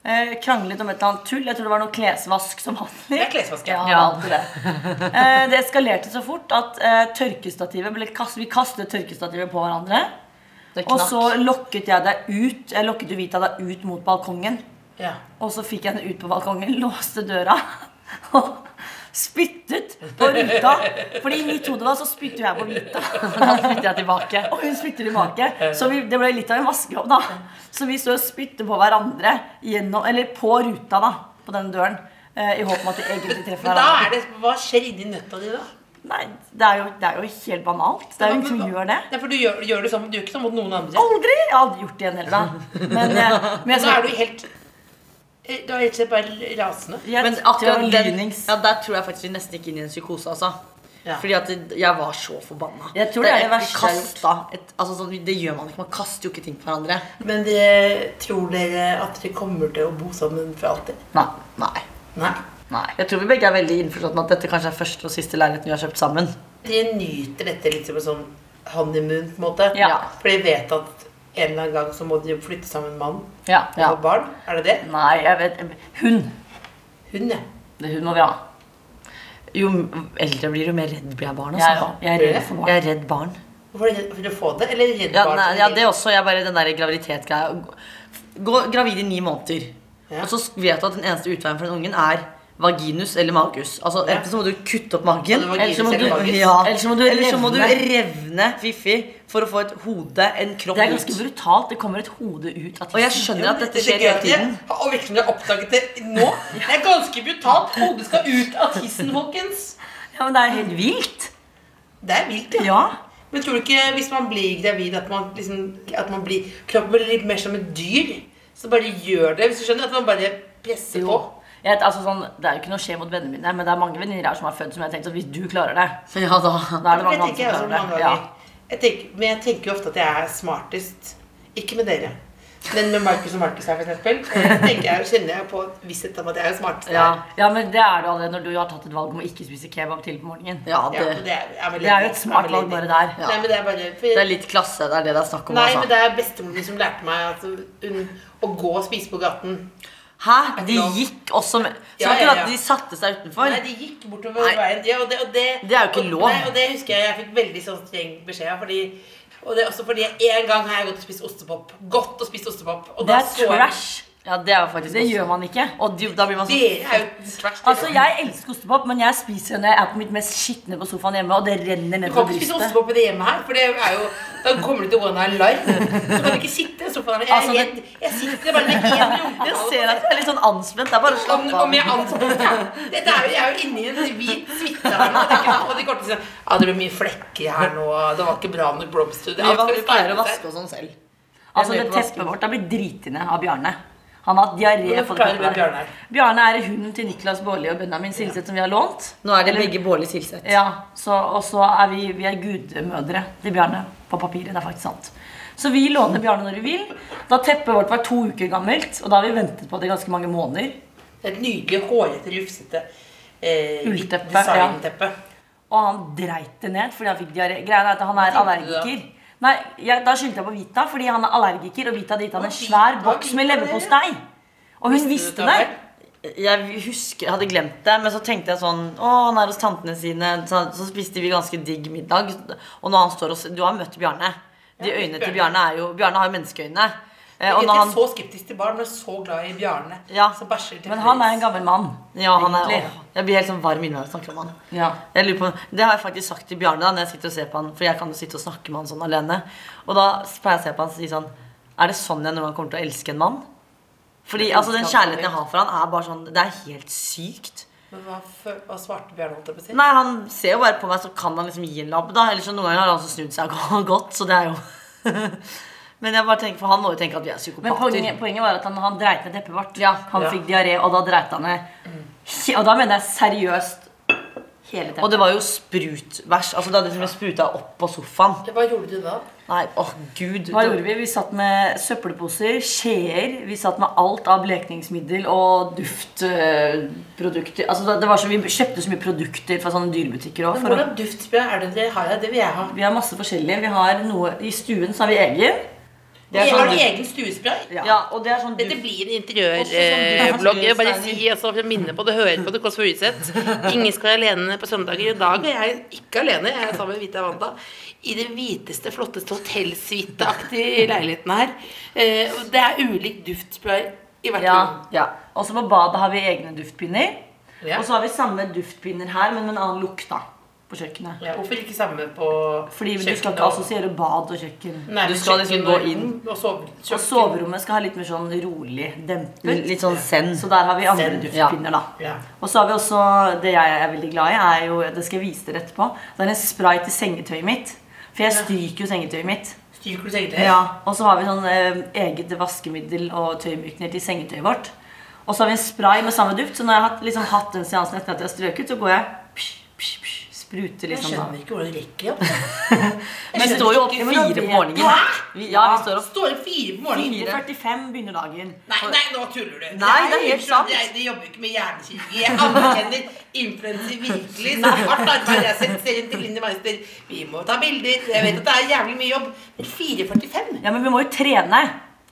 eh, kranglet om et eller annet tull. Jeg tror det var noe klesvask som
Det
handler.
er klesvask.
Ja,
Ja.
Ja.
alltid det. Eh, det eskalerte så fort at eh, tørkestativet ble kastet, Vi kastet tørkestativet på hverandre.
Det
Og
knakk.
så lokket jeg deg ut Jeg lokket jo Vita deg ut mot balkongen.
Ja.
Og så fikk jeg henne ut på balkongen, låste døra og spyttet på ruta. Fordi i mitt hode da så spytter jeg på Vita. Da spytter jeg tilbake. Og hun spytter tilbake. Så vi, det ble litt av en vaskejobb, da. Så vi så og spytter på hverandre gjennom, eller på ruta, da. På den døren. eh, I håp om at vi egentlig treffer
Men da
hverandre.
er det, Hva skjer inni nøtta di da?
Nei, det er, jo, det er jo helt banalt. Det er jo ingen som gjør det.
Nei, for du gjør, gjør det sånn, du gjør ikke sånn mot noen andre.
Aldri! Jeg har aldri gjort det igjen heller, da. Men, eh, men jeg
Da
skal
er du helt eh, Du er rett og slett bare rasende.
Jeg
Men
tror det var
akkurat den,
lynings.
ja, der tror jeg faktisk vi nesten gikk inn i en psykose. altså
Ja.
Fordi at det- jeg var så forbanna.
Jeg tror det er det verste jeg har gjort.
kastet et, altså, sånn, Det gjør man ikke. Man kaster jo ikke ting på hverandre.
Men dere, tror dere at dere kommer til å bo sammen for alltid?
Nei. Nei.
Nei.
Jeg tror vi begge er veldig innforstått med at dette kanskje er første og siste leiligheten vi har kjøpt sammen.
Dere nyter dette litt som en sånn honeymoon, på en måte?
Ja.
For dere vet at en eller annen gang så må dere flytte sammen med mannen
Ja.
og få barn? Er det det?
Nei, jeg vet Hun.
Hun, ja.
Det hun må vi ha.
Jo eldre blir, jo mer redd blir jeg barn.
Jeg, er
Altså.
også- jeg er redd for barn.
Jeg er redd barn.
Hvorfor er dere- For å få det? Eller redd
Ja,
barn?
nei, ja, det også. Jeg bare, den der graviditetsgreia. Gå- Gå gravid i ni måneder.
Ja.
Og så vet du at den eneste utveien for den ungen er vaginus eller magus. Altså,
Ja.
Enten så må du kutte opp magen,
Ja, det var
eller så må
vaginus
du,
eller magus.
ja,
Eller så må du
eller så må du
revne.
revne fiffi for å få et hode, en kropp
Det er ganske
ut.
brutalt. Det kommer et hode ut av
Og jeg
tissen.
skjønner at dette
Det
skjer hele
gøy at
tiden.
dere har virkelig oppdaget det nå. Det er ganske brutalt. Hodet skal ut av tissen, folkens.
Ja, men det er helt vilt.
Det er vilt, ja.
Ja.
Men tror du ikke hvis man blir gravid at man liksom at man blir, Kroppen blir litt mer som et dyr? Så bare gjør det, hvis du skjønner? At man bare presser
Jo.
på.
Jeg, vet, altså, sånn, det er jo ikke noe å skje mot vennene mine, men det er mange venninner her som har født som jeg har tenkt at hvis du klarer det,
Ja da.
da er det
Jeg
mange
tenker jeg
andre
også
som
mange
klarer det. Ja.
ganger. Jeg tenker, men jeg tenker jo ofte at jeg er smartest. Ikke med dere. Men med Marcus og Marcus her, for eksempel, eh, tenker jeg, kjenner jeg på visshet om at jeg er den smarteste.
Ja.
her.
Ja, men det er du allerede når du har tatt et valg om å ikke spise kebab tidlig på morgenen.
Ja,
Ja, det,
og det, er, er vel
Det er jo
litt-
et smart
er vel
valg
litt-
bare der.
Ja.
Nei, men det er bare for,
det er litt klasse. Det er det det er snakk om.
Nei, men
altså.
det er bestemoren min som lærte meg at hun, å gå og spise på gaten
Hæ?
ikke
De
lov.
gikk også med Så
Ja, ja,
det var ikke
ja.
at de satte seg utenfor?
Nei, de gikk bortover
Nei.
veien. Ja, og det, og det,
Det er jo ikke
og,
lov.
Nei, og det husker jeg jeg fikk veldig sånn streng beskjed av. Fordi, og det er også fordi en gang har jeg gått og spist ostepop. Godt å spise ostepop. Og
Det
da
er
så jeg-
trash.
Ja, det er jo faktisk
Det
også-
gjør man ikke.
Og du, da blir man sånn
Dere er jo trash. dere.
Altså, Jeg elsker ostepop, men jeg spiser det når jeg er på mitt mest skitne på sofaen hjemme, og det renner
Du
ned
kan
på
ikke spise
brystet.
ostepop i det hjemmet her, for det er jo, da kommer du til å gå ned en alarm. Så kan du ikke sitte i sofaen her. Jeg,
Altså,
er
det-
helt- jeg sitter bare med én
Jeg
rumpe.
ser at du er litt sånn anspent. Det er bare å
Om,
slappe av.
om jeg anspant ja. Dette er jo, Jeg er jo inni en hvit suite her nå. tenker jeg. Og de kommer til å si ja, det ble mye flekker her nå. Det var ikke bra nok blomster.
Vi var- vi pleier å
Alt skal
vaske og sånn selv.
Altså,
Jeg er
Det
med på
teppet vårt har blitt driti ned av Bjarne. Han har hatt diaré.
Hvordan
på det
forklarer
teppet
du
der.
Bjarne her?
Bjarne er hunden til Niklas Baarli og Benjamin Silseth, som vi har lånt.
Nå er det begge Bårli Silseth.
Ja, så, Og så er vi, vi er gudmødre til Bjarne på papiret. Det er faktisk sant. Så vi låner Bjarne når vi vil. Da teppet vårt var to uker gammelt, og da har vi ventet på det i ganske mange måneder.
Det er Et nydelig hårete, rufsete eh,
Ullteppe,
hvitt designteppe.
Og han dreit det ned fordi han fikk diaré. Greia er at han er
tenkte du da?
allergiker. Nei, jeg, Da skyldte jeg på Vita, fordi han er allergiker, og Vita har gitt han en svær
Vita-
boks med
Vita-
leverpostei. Og hun visste det.
Dette
Jeg husker, jeg hadde glemt det, men så tenkte jeg sånn Å, han er hos tantene sine. Så, så spiste vi ganske digg middag. Og når han står og s- Du har møtt Bjarne. De
har møtt
øynene til
Bjarne.
Bjarne er jo Bjarne har jo menneskeøyne. Eh,
er-
og
Jeg
når
er
han
så skeptisk til barn, men jeg er så glad i Bjarne.
Ja,
som bæsjer til
Men han er en
flis.
gammel mann.
Ja, han er
Egentlig.
åh, Jeg blir helt sånn varm inni meg når jeg snakker om han.
Ja.
Jeg lurer på, det har jeg faktisk sagt til Bjarne da, når jeg sitter og ser på han. For jeg kan jo sitte og snakke med han sånn alene. Og da pleier jeg å se på han og si sånn Er det sånn jeg noen gang kommer til å elske en mann? Fordi altså, den kjærligheten jeg har for han, er bare sånn Det er helt sykt.
Men hva, fø- hva svarte Bjarne? holdt jeg på å si?
Nei, han ser jo bare på meg, så kan han liksom gi en lapp, da. Eller så noen ganger har han også snudd seg og gått, så det er jo Men jeg bare tenker, for han må jo tenke at vi er
Men
psykopater.
poenget, poenget var at han, han dreit ned teppet vårt.
Ja.
Han
Ja.
fikk diaré, og da dreit han ned. Og da mener jeg seriøst hele
Og
teppet.
det var jo sprutbæsj. Altså, det hadde liksom spruta opp på sofaen.
Hva gjorde du da?
Nei, åh gud.
Hva gjorde vi? Vi satt med søppelposer, skjeer, vi satt med alt av blekningsmiddel og duftprodukter. Altså, det- det var så, vi kjøpte så mye produkter fra sånne dyrebutikker også,
Men
for å-
Hvordan duftspray er det dere har? her? Det vil jeg ha.
Vi har masse forskjellige. Vi har noe, I stuen så har vi egen.
Det er
Dere har
sånn du-
egen stuespray?
Ja.
Ja, og det er sånn du
Dette blir en interiørblogg. Jeg vil bare si altså, for å minne på det, høre på det Kåss Furuseth. Ingen skal være alene på søndager. I dag er jeg ikke alene, jeg er sammen med Vita Wanda. I det hviteste, flotteste hotellsuiteaktige leiligheten her. Eh, og Det er ulik duftspray i hvert
Ja,
rom.
ja. Og så på badet har vi egne duftpinner.
Ja.
Og så har vi samme duftpinner her, men med en annen lukt da, på kjøkkenet.
Ja, hvorfor ikke samme på
Fordi du skal
kjøkkenet
ikke
og-
assosiere bad og kjøkken.
Nei,
Du
men
skal liksom
kjøkken
gå
og-
inn.
og sove.
Og soverommet skal ha litt mer sånn rolig dempet.
Litt sånn zen.
Så der har vi andre
Zen,
duftpinner, da.
Ja.
Og så har vi også det jeg er veldig glad i, er jo, det skal jeg vise dere etterpå, det er en spray til sengetøyet mitt. For jeg stryker jo sengetøyet mitt.
Styrker du sengetøy?
Ja, Og så har vi sånn eh, eget vaskemiddel og tøymykner til sengetøyet vårt. Og så har vi en spray med samme duft, så når jeg har hatt- liksom, hatt den seansen etter at jeg har strøket, så går jeg psh, psh, psh, spruter
Jeg
liksom da.
skjønner ikke hvordan du rekker opp.
Vi står jo opp
Ja,
fire
men da
på
vet
morgenen.
du. Hæ?
Vi, ja, vi står opp
Ah, Står opp fire på morgenen.
4.45 begynner dagen.
Nei, nei, nå tuller du.
Nei, det er helt
unnskyld,
sant.
Jeg, de jobber jo ikke med hjernekirurgi. Jeg anerkjenner influenser virkelig. Så hardt arbeid jeg setter serien til Linni Meister. Vi må ta bilder. Jeg vet at det er jævlig mye jobb. Men 4.45?
Ja, men vi må jo trene.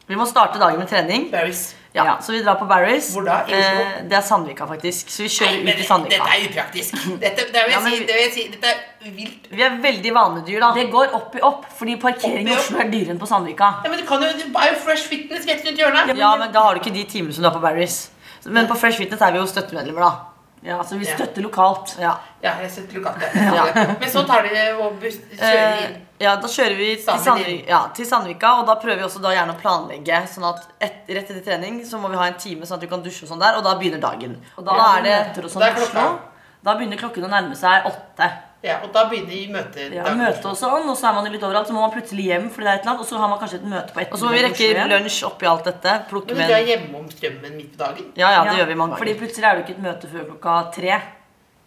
Vi må starte dagen med trening.
Barrys.
Ja,
Ja.
Så vi drar på Barry's.
Hvor da? I Oslo?
Eh, det er Sandvika, faktisk. Så vi kjører
Men
ut i
dette
Sandvika.
er upraktisk. Dette, det vil
Ja,
jeg
men
si,
vi-
det vil jeg si, dette er vilt.
Vi er veldig vanedyr, da.
Det går opp i opp, fordi parkering
Opp i
i
opp?
Oslo er dyrere enn på Sandvika.
Ja, men du kan jo, du er jo Fresh Fitness rett rundt hjørnet.
Ja, men da har du ikke de timene som du har på Barry's. Men på Fresh Fitness er vi jo støttemedlemmer, da.
Ja, Så vi
Ja.
støtter lokalt.
Ja.
Ja, jeg støtter Lukate. Men så tar dere og bus- kjører
Eh,
inn.
ja, da kjører vi til
Sammen
Sandvika, ja, til Sandvika og da prøver vi også da gjerne å planlegge. Sånn at et, rett etter trening så må vi ha en time sånn at vi kan dusje og sånn der, og da begynner dagen.
Og
da
da,
er det
møter
Da
og sånn
er
i Oslo.
klokka.
Da begynner klokken å nærme seg åtte.
Ja, og da begynner møtet.
Ja, møte og sånn, og så er man jo litt overalt, så må man plutselig hjem fordi det er et eller annet, og så har man kanskje et møte på
Og så må vi
ettermiddagen. i Oslo
rekke
igjen.
lunsj oppi alt dette. Plukke
Men
med
dere er
en
hjemme om strømmen midt på dagen.
Ja, ja, det
Ja,
gjør vi mange
Fordi
ganger.
plutselig er det jo ikke et møte før klokka tre.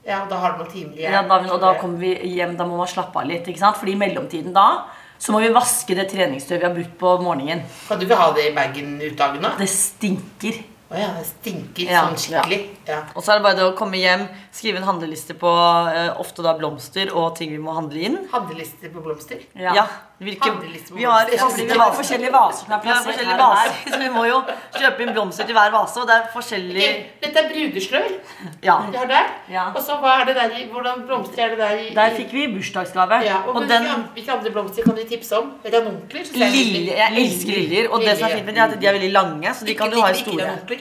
Ja, og da har du noen timer igjen.
Ja, da, og da kommer vi hjem, da må man slappe av litt. ikke sant? Fordi i mellomtiden da så må vi vaske det treningstøyet vi har brukt på morgenen.
Kan du ikke ha det i bagen ut dagen nå?
Det stinker.
Å ja, det stinker
Ja,
sånn skikkelig. Ja.
Og så er det bare det å komme hjem, skrive en handleliste på eh, ofte da blomster og ting vi må handle inn.
Handlelister på blomster?
Ja, hvilke,
Handleliste på
Vi har
blomster.
forskjellige
Det var
vaser.
forskjellige vaser som er
Vi har
plassert
forskjellige
her og der.
vaser, så vi må jo kjøpe inn blomster til hver vase. Og det er forskjellig
Dette er brudeslør.
Ja.
Vi har der.
Ja.
Og så hva er det der i Hvordan blomster er det der i?
Der fikk vi bursdagsgave.
ja, og
Og
hvilke
den
an- Hvilke andre blomster kan du tipse om? Ranunkler? synes jeg er litt-
lille Jeg elsker liljer. Og det som er fint med de, er at de er veldig lange, så de kan du ha i
Ikke- ikke-
store
Ikke ranunkler.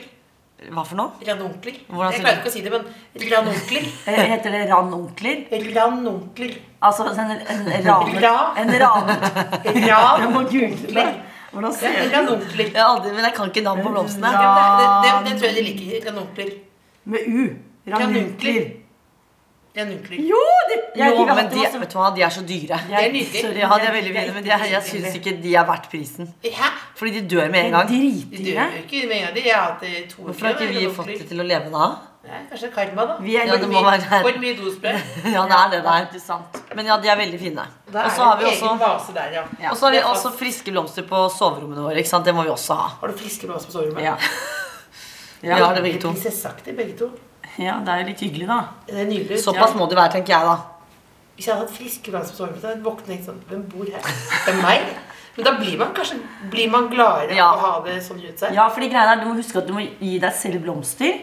Hva for noe?
Ranunkler.
Hvordan
Jeg klarer
sier du?
ikke å si det, men ranunkler.
Eh, Heter det ranunkler?
Ranunkler.
Altså en, en, raner-
Ra-
en ranunkler. Jeg
Ran.
må google det. Hvordan
Ja,
ser det ut?
Ranunkler.
Jeg, har aldri, men jeg kan ikke navn på blomstene.
Ja, men Det, det, det, det tror jeg de liker. Ranunkler.
Med u. Ranunkler.
Ranunkler.
Jo, det, jeg,
Jo,
vi har
men
hatt
de,
det altså. masse-
vet du hva, de er så dyre.
Det er nydelig.
Sorry, ja, de er veldig fine, men de er, jeg syns ikke de er verdt prisen.
Hæ?
Fordi de dør med en gang.
De dør jo ikke med en gang. de. Jeg har hatt eh, to
Hvorfor har ikke vi fått det til å leve da?
Nei, kanskje karma, da.
Vi er
Ja,
litt-
det må være her.
For mye dospray.
Ja, det er det
Det er
der.
ikke sant.
Men ja, de er veldig fine.
Da er
Og så har
det
vi
en
også
egen vase der, ja.
og så har vi
Det er
også friske blomster på soverommene våre. ikke sant? Det må vi også ha.
Har du friske blader på soverommet?
Ja.
Vi har det begge to.
Prinsesseaktig, begge to.
Ja, det er jo litt hyggelig, da.
Det er nydelig.
Såpass må det være, tenker jeg, da.
Hvis jeg hadde hatt friske blader på soverommet, så hadde jeg våknet helt sånn Hvem bor her? Det er meg? Men da blir man kanskje blir man gladere
Ja.
av å ha det sånn rundt seg.
Ja, for de greiene er, Du må huske at du må gi deg selv blomster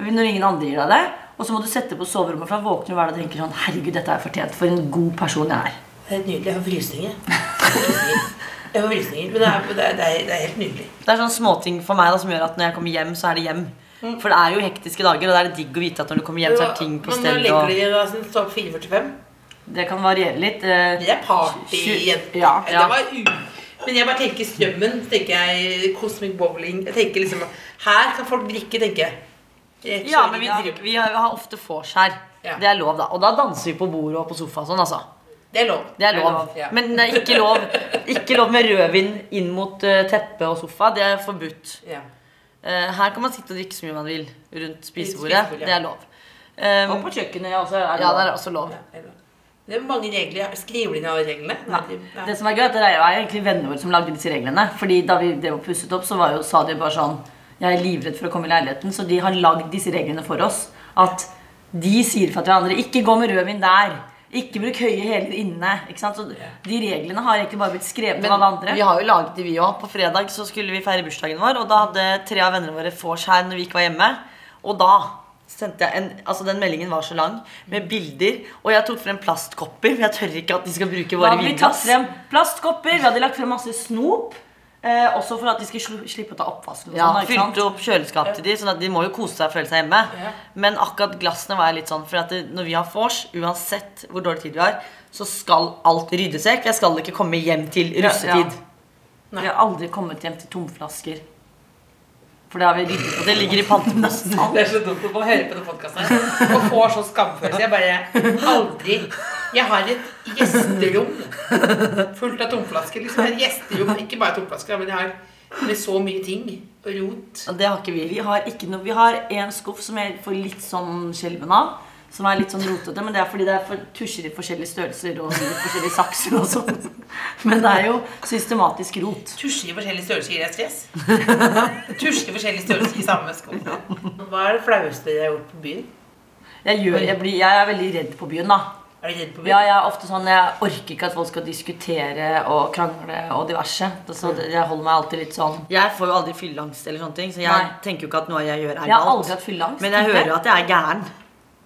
når ingen andre gir deg det. Og så må du sette på soverommet, for da våkner du hver dag og tenker sånn Herregud, dette er fortjent. For en god person jeg er.
Det er nydelig. Jeg får frysninger. Jeg får frysninger. Jeg får frysninger. Men det er, det, er, det, er, det er helt nydelig.
Det er sånne småting for meg da, som gjør at når jeg kommer hjem, så er det hjem.
Mm.
For det er jo hektiske dager, og da er det digg å vite at når du kommer hjem, så er ting på
Men nå
stell.
legger
Og...
de det da, sånn, står opp 4.45.
Det kan variere litt. eh,
Det er partyjenter.
Ja, ja.
Det var u... Men jeg bare tenker strømmen, tenker jeg Cosmic Bowling. Jeg tenker liksom, Her kan folk drikke, tenker jeg. Rett og
Ja,
slett,
men vi,
ja.
drikker, vi har- vi har ofte vors her.
Ja.
Det er lov, da. Og da danser vi på bordet og på sofa og sånn, altså.
Det er lov.
Det er lov.
Ja.
Men det er ikke lov, ikke lov med rødvin inn mot eh, teppe og sofa. Det er forbudt.
ja.
Eh, her kan man sitte og drikke så mye man vil rundt spisebordet.
spisebordet, ja.
Det er lov. Um,
Og på kjøkkenet også er det
ja, det
lov.
er også lov.
Ja, det er lov. Det er mange regler. Skriver de ned alle reglene? Nei. de- nei.
Det som er gøy, er at det er jo er jo egentlig vennene våre som lagde disse reglene. Fordi da vi det var pusset opp, så var jo, sa de bare sånn Jeg er livredd for å komme i leiligheten, så de har lagd disse reglene for oss. At de sier fra til hverandre Ikke gå med rødvin der. Ikke bruk høye hæler inne. Ikke sant? Så de reglene har egentlig bare blitt skrevet av
Men
alle andre.
vi har jo laget de, vi òg. På fredag så skulle vi feire bursdagen vår, og da hadde tre av vennene våre vors her når vi ikke var hjemme. Og da sendte jeg en Altså, den meldingen var så lang, med bilder, og jeg tok frem plastkopper, for jeg tør ikke at de skal bruke
Da
våre
hadde vi tatt
vinglass.
frem plastkopper, vi hadde lagt frem masse snop. Eh, også for at de skulle slu- slippe å ta oppvasken. og
Ja,
sånn, da, ikke sant?
fylte opp kjøleskapet til de, sånn at de må jo kose seg og føle seg hjemme. Men akkurat glassene var jeg litt sånn, for at det, når vi har vors, uansett hvor dårlig tid vi har, så skal alt ryddes vekk. Jeg skal ikke komme hjem til russetid.
Vi har aldri kommet hjem til tomflasker. For det har vi ryddet
Og det ligger i panteposten.
Det er så dumt å få høre på den podkasten her og får så skamfølelse. Jeg bare aldri Jeg har et gjesterom fullt av tomflasker. Liksom et gjesterom, ikke bare tomflasker, men jeg har med så mye ting og rot.
Og det har ikke vi. Vi har, ikke noe, vi har en skuff som jeg får litt sånn skjelven av. Som er litt sånn rotete, men det er fordi det er for tusjer i forskjellige størrelser og litt forskjellige sakser og sånn. Men det er jo systematisk rot.
Tusjer i forskjellige størrelser gir deg stress. Tusjer i forskjellige størrelser i samme sko. Hva er det flaueste dere har gjort på byen?
Jeg, gjør, jeg, blir, jeg er veldig redd på byen, da.
Er dere redd på byen?
Ja, jeg er ofte sånn, jeg orker ikke at folk skal diskutere og krangle og diverse.
Mm.
Så det- jeg holder meg alltid litt sånn
Jeg får jo aldri fylleangst, eller sånne ting, så jeg
Nei.
tenker jo ikke at noe jeg gjør, er
Jeg har aldri
galt.
hatt fylleangst.
Men jeg hører jo at jeg er gæren.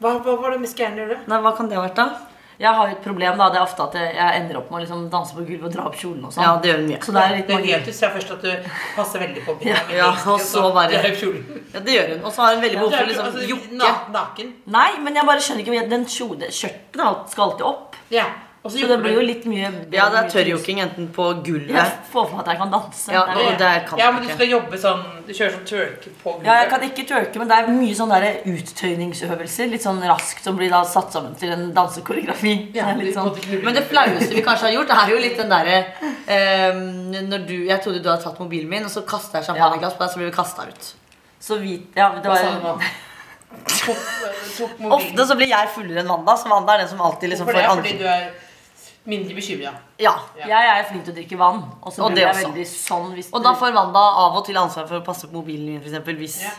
Hva, hva var det mest gærne dere gjorde?
Nei, hva kan det ha vært, da?
Jeg har jo et problem, da. Det er ofte at jeg- jeg ender opp med å liksom danse på gulvet og dra opp kjolen og sånn.
Ja, det gjør hun mye.
Så det er litt
Det er gøy
mange
at du sa først at du passer veldig på byen.
Ja, og så bare-
Du er i kjolen.
Ja, det gjør hun. Og så har hun
Du
veldig behov
er
for å
jo
liksom
altså,
jokke.
na- naken.
Nei, men jeg bare skjønner ikke Den kjode, skjørten alt skal alltid opp.
Ja. Og så
Så det
jokker
blir
du.
jo litt mye
Ja, det er
mye trus.
tørrjokking enten på
Jeg
gulvet
får for meg at jeg kan danse.
Ja,
Det er-
og det kan
ja,
du
men du
ikke.
skal jobbe sånn Du kjører sånn twerke på gulvet.
Ja, jeg kan ikke twerke, men det er mye sånne der uttøyningsøvelser. Litt sånn raskt som blir da satt sammen til en dansekoreografi. Så det er
du
litt sånn.
måtte knulle.
Men det flaueste vi kanskje har gjort, er jo litt den derre eh, Når du Jeg trodde du hadde tatt mobilen min, og så kasta jeg champagneglass på deg, så ble vi kasta ut.
Så vi, ja, det
Hva sa du
var
nå? Tok, tok mobilen.
Ofte så blir jeg fullere enn Wanda, så Wanda er den som alltid liksom
For det
får
er fordi
andre
du er Mindre bekymra.
Ja.
Jeg er flink til å drikke vann. Og så
Og det
blir jeg
også.
veldig sånn hvis
Og da får Wanda av og til ansvar for å passe på mobilen min, for eksempel, hvis
Ja.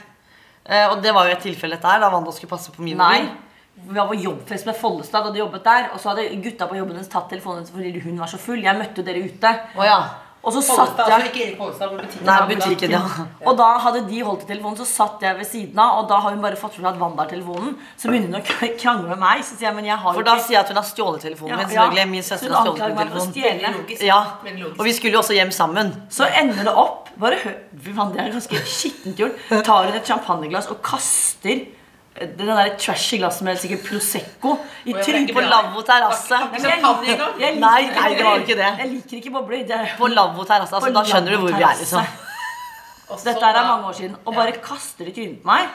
Eh, Og det var jo et tilfelle dette her, da Wanda skulle passe på min
Nei.
mobil.
Vi var på jobbfest med Follestad, og hadde jobbet der. Og så hadde gutta på jobben hennes tatt telefonen hennes fordi hun var så full. Jeg møtte dere ute.
Å ja.
Og så
Pollestad,
satt
altså
jeg
ikke Erik Pollestad, men butikken.
Nei,
han ble
butikken, ja.
og da hadde de holdt i telefonen, så satt jeg ved siden av. Og da har hun bare fått med seg at Wanda har telefonen. Så begynner hun å krangle med meg. Så sier jeg, men jeg har
For
jo
da
ikke-
sier jeg at hun har stjålet telefonen min.
Ja,
selvfølgelig.
ja.
Min søster
Så
har
hun
stjålet min
anklager meg for
telefon.
å stjele.
logisk.
Ja.
Veldig logisk.
Og vi skulle jo også hjem sammen.
Så ender det opp Bare hør Fy faen, det er ganske skittent gjort. Tar hun et champagneglass og kaster eh, den der trashy glasset med sikkert Prosecco i
jeg
trynet
tenker
på
På
lavvo.
lavvo terrasse.
Jeg
Ikke champagne
liker-
engang?
jeg liker
Nei,
ikke
nei, det var jo
bobler.
ikke det.
Jeg liker ikke bobler. Det er
På lavvo terrasse. Altså,
På
da skjønner du hvor vi er,
lavvo-terrasse.
liksom.
Og så
Dette her er
da-
mange år siden. Og bare kaster det i trynet på meg.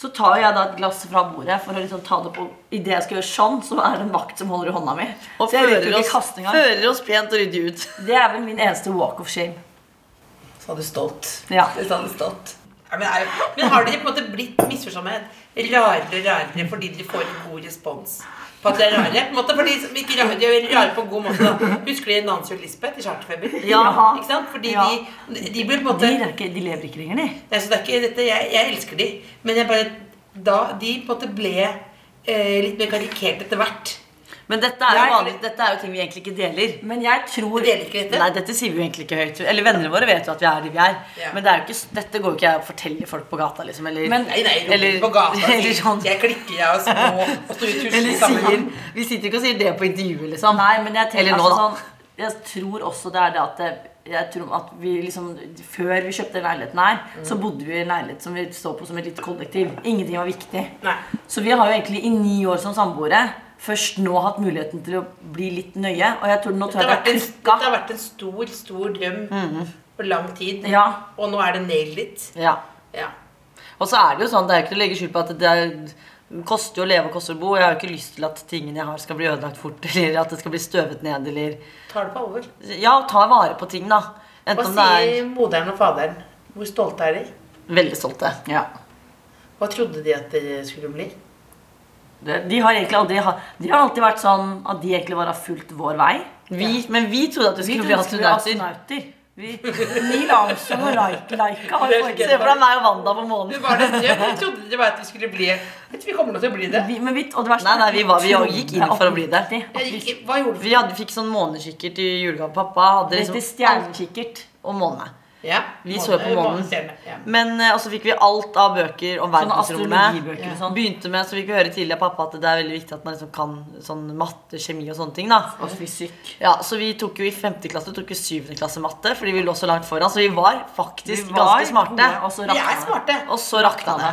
Så tar jeg da et glass fra bordet for å liksom ta det på Idet jeg skal gjøre sånn, så er det en vakt som holder i hånda mi.
Og
så jeg rekker
fører
jo ikke
oss,
kaste engang.
fører oss pent og ryddig ut.
Det er vel min eneste walk of shame.
Så hadde du stolt.
Ja.
Det sa du stolt. Ja, men, er, jo- men har dere på en måte blitt misforstått med rarere og rarere fordi dere får en god respons? På at det er rare? På en måte, fordi som ikke rare, de er rare på en god måte. Da. Husker dere Nancy og Lisbeth i Charterfeber?
Ja.
Ikke sant? Fordi
Ja.
de, de ble på en
De,
måte
er ikke, de lever ikke lenger, de.
Nei, så det er ikke dette, jeg, jeg elsker de, men jeg bare, da, de på en måte ble eh, litt mer karikert etter hvert.
Men dette er,
Jeg-
jo vanlig, dette er jo ting vi egentlig ikke deler.
Men jeg tror
Deler ikke dette?
Nei, dette sier vi jo egentlig ikke høyt. Eller vennene våre vet jo at vi er de vi er.
Ja.
Men det er jo ikke, dette går jo ikke jeg og forteller folk på gata, liksom. Eller,
Men-
Nei, nei, roper
eller,
på gata. sier,
eller sånn.
Jeg klikker, jeg er små, og står i
Eller
tusjen
sier,
sammen.
vi sitter ikke og sier det på intervjuet, liksom.
Nei, men jeg tenker
Eller nå,
altså
da.
sånn Jeg tror også det er det at det, jeg tror at vi liksom, Før vi kjøpte den leiligheten her,
Mm.
så bodde vi i en leilighet som vi så på som et lite kollektiv. Ingenting var viktig.
Nei.
Så vi har jo egentlig i ni år som samboere først nå hatt muligheten til å bli litt nøye. Og jeg tror, nå
Det
tror
har,
jeg
vært
det
en,
har
det har
klikka.
vært en stor, stor drøm for lang tid,
Ja.
og nå er det nailed it.
Ja.
Ja.
Og så er det jo sånn, det er jo ikke til å legge skjul på at det er, koster jo å leve og koster å bo. og Jeg har jo ikke lyst til at tingene jeg har, skal bli ødelagt fort, eller at det skal bli støvet ned, eller
Tar det på alvor.
Ja, ta vare på ting, da.
Hva
Enten om det
sier moderen og faderen? Hvor stolte er de?
er Veldig stolte.
Ja.
Hva trodde de at de skulle bli?
Det, de, har egentlig aldri, ha- de har alltid vært sånn at de egentlig bare har fulgt vår vei.
Vi, Men vi trodde at du
Vi
skulle bli
trodde vi var
astronauter.
astronauter. Vi, Neil Armstrong og Laika Laika har
Det er
foreldre.
Se for deg meg og Wanda på månen.
Det var det jeg trodde de bare at de skulle bli. Jeg tror vi kommer nå til å bli det.
Vi, men vi, og det verste
Nei, nei, vi var- vi gikk inn for å bli det.
Oppriktig.
Jeg gikk, hva gjorde
Vi hadde, fikk sånn månekikkert i julegave. Pappa hadde
Dette
liksom alt
stjernekikkert.
om måne.
Ja,
Vi så på månen.
Ja.
Men eh, og så fikk vi alt av bøker om
Sånne
verdensrommet.
astrologibøker og
Sånn. Begynte med, så fikk vi høre tidlig av pappa at det er veldig viktig at man liksom kan sånn matte, kjemi og sånne ting. da
Og fysikk.
ja, Så vi tok jo i 5. klasse tok jo 7. klasse matte fordi vi lå så langt foran. Så vi var faktisk ganske smarte.
gode, og så
Vi
rakna
er
det.
smarte.
Og så rakna det.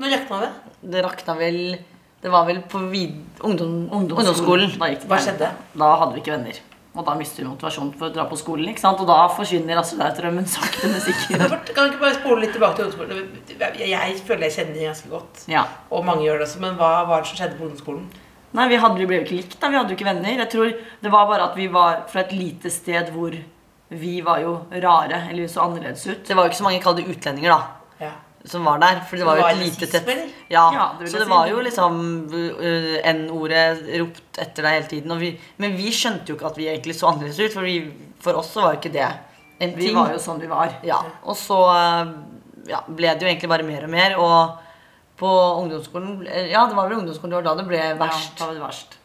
Nå rakna det.
Det rakna vel Det var vel på vid ungdom,
Ungdomsskolen.
ungdomsskolen.
Da gikk det
Hva
ned.
skjedde?
Da hadde vi ikke venner. Og da mister vi motivasjonen for å dra på skolen. ikke sant? Og da forsvinner astronautdrømmen sakte, men sikkert.
Kan vi ikke bare spole litt tilbake til ungdomsskolen? Jeg- Jeg føler jeg kjenner det ganske godt.
Ja.
Og mange gjør det også, men hva var det som skjedde på ungdomsskolen?
Nei, vi, hadde, vi ble jo ikke likt, da. Vi hadde jo ikke venner. Jeg tror Det var bare at vi var fra et lite sted hvor vi var jo rare, eller vi så annerledes ut.
Det var jo ikke så mange kalde utlendinger, da.
Ja.
som var der. For det var jo
Var
et
det
lite
rasisme,
tett
eller?
ja,
Ja, det vil
Så
jeg
det
si.
var jo liksom øh, N-ordet ropt etter deg hele tiden. Og vi, men vi skjønte jo ikke at vi egentlig så annerledes ut, for, vi, for oss så var jo ikke det en
Vi
ting.
var jo sånn vi var.
ja, og så øh, ja, ble det jo egentlig bare mer og mer. Og på ungdomsskolen eh, Ja, det var vel ungdomsskolen det var da det ble verst.
Ja, da var det verst.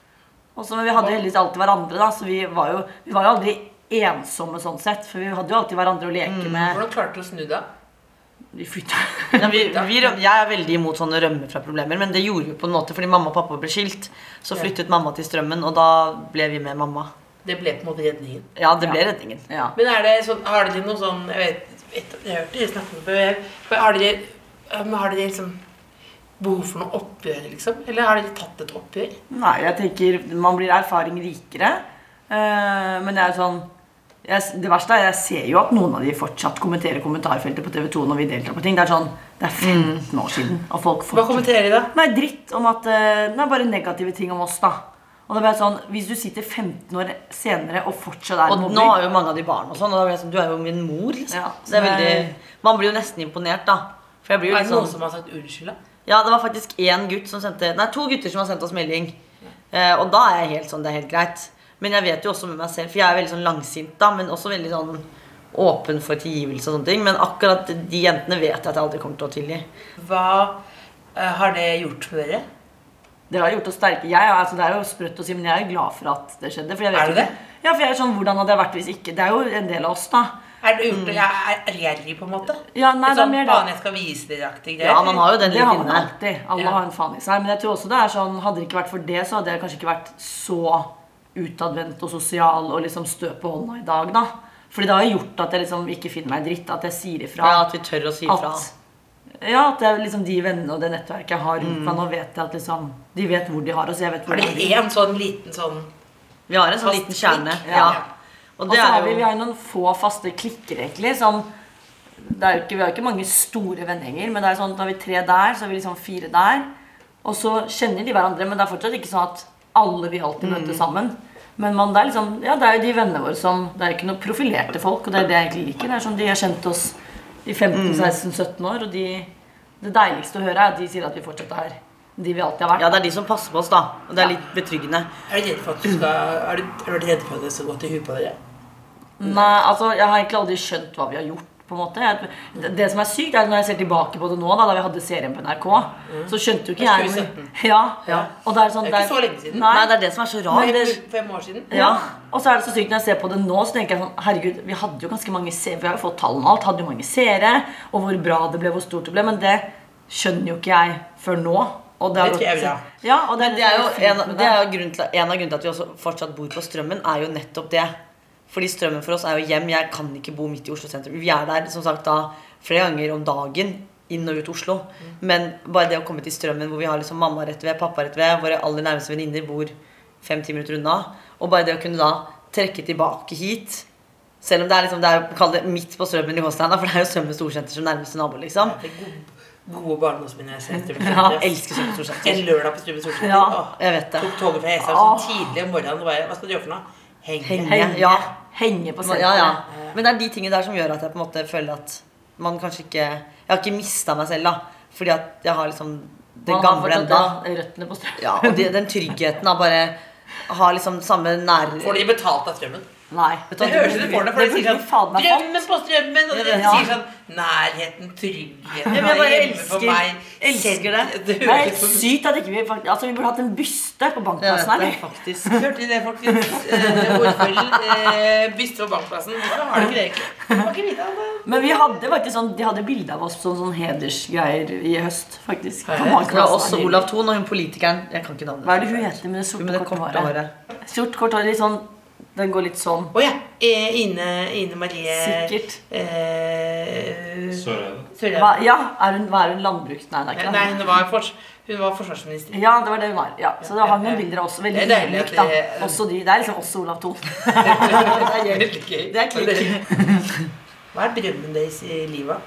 Og så, men vi hadde jo heldigvis alltid hverandre, da, så vi var, jo, vi var jo aldri ensomme sånn sett. For vi hadde jo alltid hverandre å leke
Mm.
med.
Hvordan klarte du å snu deg?
Vi flytta
Ja, vi, vi, røm- jeg er veldig imot sånne rømme fra problemer, men det gjorde vi på en måte fordi mamma og pappa ble skilt. Så flyttet mamma til Strømmen, og da ble vi med mamma.
Det ble på en måte redningen.
Ja, det ble redningen.
Ja.
Men er det sånn, har dere noe sånn Jeg vet, vet jeg har hørt dere snakke om det før. men Har dere, men har dere liksom behov for noe oppgjør, liksom? Eller har dere tatt et oppgjør?
Nei, jeg tenker man blir erfaring rikere. Eh, men det er jo sånn jeg, Det verste er jeg ser jo at noen av de fortsatt kommenterer kommentarfeltet på TV2 når vi deltar på ting. Det er sånn, det er 15 år siden, og folk
Mm. Hva
fortsatt
kommenterer de da?
Nei, dritt om at eh, Nei, bare negative ting om oss, da. Og da blir jeg sånn, Hvis du sitter 15 år senere og fortsatt er
Og
mobber-
nå har jo mange av de barn og sånn, og da blir jeg sånn, du er jo min mor, liksom.
Ja,
Så det er veldig,
nei.
man blir jo nesten imponert, da. For jeg blir jo
Er
litt
det noen
sånn,
som har sagt unnskyld, da?
ja, det var faktisk én gutt som sendte, nei, to gutter som har sendt oss melding. Eh, og da er jeg helt sånn, det er helt greit. Men jeg vet jo også med meg selv, for jeg er veldig sånn langsint, da, men også veldig sånn åpen for tilgivelse og sånne ting. Men akkurat de jentene vet jeg at jeg aldri kommer til å tilgi.
Hva eh, har det gjort med dere?
Det har gjort oss sterke. Jeg, er- altså, det er jo sprøtt å si, men jeg er glad for at det skjedde. For jeg vet
Er du
jo-
det?
Ja, for jeg er sånn, Hvordan hadde jeg vært hvis ikke? Det er jo en del av oss, da.
Er det gjort,
Mm.
jeg er ærlig, på en måte?
Ja, nei,
Et
det er
sånn,
mer det.
faen, jeg skal vise dere-aktig greie?
Ja, man har jo den
Det
litt
har man
inne.
alltid. Alle
Ja.
har en faen i seg. Men jeg tror også det er sånn, hadde det ikke vært for det, så hadde jeg kanskje ikke vært så utadvendt og sosial og liksom stø på hånda i dag, da. Fordi det har jo gjort at jeg liksom ikke finner meg i dritt. At jeg sier ifra.
Ja, at vi tør å si ifra.
at ja, at det er liksom de vennene og det nettverket jeg har rundt meg, nå vet jeg at liksom De vet hvor de har oss, jeg vet hvor
Er
de
Mm. det én sånn liten sånn
Vi har en sånn
Fast
liten kjerne.
klikk.
Ja.
Ja.
Og
Og
det
så har
er
vi, vi
jo
har jo noen få faste klikker, egentlig. Som det er jo ikke, vi har jo ikke mange store vennegjenger, men det er jo sånn at da har vi tre der, så har vi liksom fire der. Og så kjenner de hverandre, men det er fortsatt ikke sånn at alle vi alltid
Mm.
møter sammen. Men man, det, er liksom, ja, det er jo de vennene våre som Det er jo ikke noe profilerte folk, og det er det jeg egentlig liker. Det er sånn De har kjent oss i
Mm.
15-16-17 år, og de, det deiligste å høre er at de sier at vi fortsatt er de vi alltid har vært.
Ja, det er de som passer på oss, da. Og det er litt betryggende.
Er du redd for at du skal Er du, er du redd for at det skal gå til huet på dere?
Nei, altså Jeg har egentlig aldri skjønt hva vi har gjort. på en måte jeg, det, det som er sykt, er at når jeg ser tilbake på det nå, da, da vi hadde serien på NRK,
Mm.
så skjønte jo ikke
Det er
jeg
2017.
ja, Og det er sånn
Det er ikke så lenge siden.
Nei,
Nei, det er det som er så
Nei,
rart.
det-
Fem år siden?
ja. Og så er det så sykt når jeg ser på det nå, så tenker jeg sånn Herregud, vi hadde jo ganske mange seere. Vi har jo fått tallene og alt. Hadde jo mange seere. Og hvor bra det ble, hvor stort det ble. Men det skjønner jo ikke jeg før nå. Og det, har
Det tror jeg
gått-
vi har.
Ja, og det,
Det er jo
litt fint
en,
med
det er jo grunnen til, en av grunnene til at vi også fortsatt bor på Strømmen, er jo nettopp det. Fordi Strømmen for oss er jo hjem. Jeg kan ikke bo midt i Oslo sentrum. Vi er der som sagt da flere ganger om dagen. Inn og ut Oslo. Men bare det å komme til Strømmen, hvor vi har liksom mamma rett ved, pappa rett ved, våre aller nærmeste venninner bor fem-ti minutter unna, og bare det å kunne da trekke tilbake hit Selv om det er liksom, det er jo kall det midt på Strømmen i Gåstein, da, for det er jo Strømmen storsenter som nærmeste nabo, liksom.
Det er gode, gode barndomsminner. jeg ser.
Ja, elsker Strømmen
En
storsenter.
lørdag på Strømmen Storsenter.
Ja.
Åh,
Jeg vet det.
Tok toget fra Hesa sånn tidlig om morgenen. og Bare, hva skal du gjøre for noe? Henge.
Henge. Ja.
Henge på senteret.
Ja, ja. Men det er de tingene der som gjør at jeg på en måte føler at man kanskje ikke Jeg har ikke mista meg selv, da. Fordi at jeg har liksom det
Man har
gamle
fortsatt
enda.
da Røttene på strømmen.
Ja, og de, den tryggheten av bare ha liksom samme nær...
Får de betalt av strømmen?
Nei.
Vet du
Sånn Det
hva,
høres ut som folk når folk
det
sier
burde vi faen
sånn
meg fått.
'Drømmen på strømmen', og de
Ja.
sier sånn 'Nærheten, tryggheten,
men jeg bare
hjemme for
elsker-
meg'.
elsker
Det
det.
Det er
høres
helt
ut som
sykt at ikke vi faktisk Altså, vi burde hatt en byste på
Jeg
bankplassen
vet
her.
det,
vi.
faktisk.
Hørte dere det, folkens? Eh, Ordfører eh, byster på bankplassen. Hvorfor har de ikke det, egentlig? Får ikke vite om det.
Men vi hadde faktisk sånn De hadde bilde av oss på sånn, sånn hedersgreier i høst, faktisk.
Det
På
var også
bankplassen her.
Olav Thon og hun politikeren. Jeg kan ikke navnet.
Hva er det hun heter med det
Hun med
sorte,
det korte
korte håret?
håret.
Sort, kort hår, litt sånn Den går litt sånn.
Å ja. eh, Ine, Ine Marie
Sikkert.
Eh,
Hva,
Sørøve.
ja, er hun, hva er hun landbruks... Nei, det er ikke
Eh, Nei,
det.
hun var, fors hun var forsvarsminister.
Ja, det var det hun var. Ja, så det hang noen bilder av oss. Veldig
Det er deilig at
ydmykt, da.
det-
Også de. Det er liksom også Olav Thon.
Det er veldig gøy.
Det er klikk.
Hva er drømmen deres i livet?